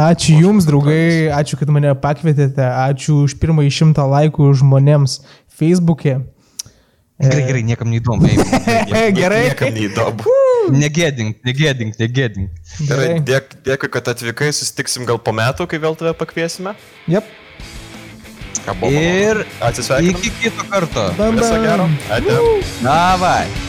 [SPEAKER 3] Ačiū Jums, draugai, ačiū, kad mane pakvietėte, ačiū už pirmąjį šimtą laikų žmonėms Facebook'e.
[SPEAKER 1] Gerai, gerai, niekam neįdomu.
[SPEAKER 3] *laughs*
[SPEAKER 1] eim.
[SPEAKER 3] E, gerai,
[SPEAKER 2] Niekam neįdomu.
[SPEAKER 1] Negėdink, negėdink, negėdink.
[SPEAKER 2] Gerai,
[SPEAKER 3] gerai.
[SPEAKER 2] dėk, dėkui, kad atvykai, susitiksim gal po metų, kai vėl tave pakviesime.
[SPEAKER 3] Jep.
[SPEAKER 2] Ką buvo?
[SPEAKER 1] Ir
[SPEAKER 2] malonu. Atsisveikinam.
[SPEAKER 1] iki kito karto.
[SPEAKER 3] Bam,
[SPEAKER 2] Viso
[SPEAKER 3] bam.
[SPEAKER 2] gero. Ate.
[SPEAKER 1] Davai.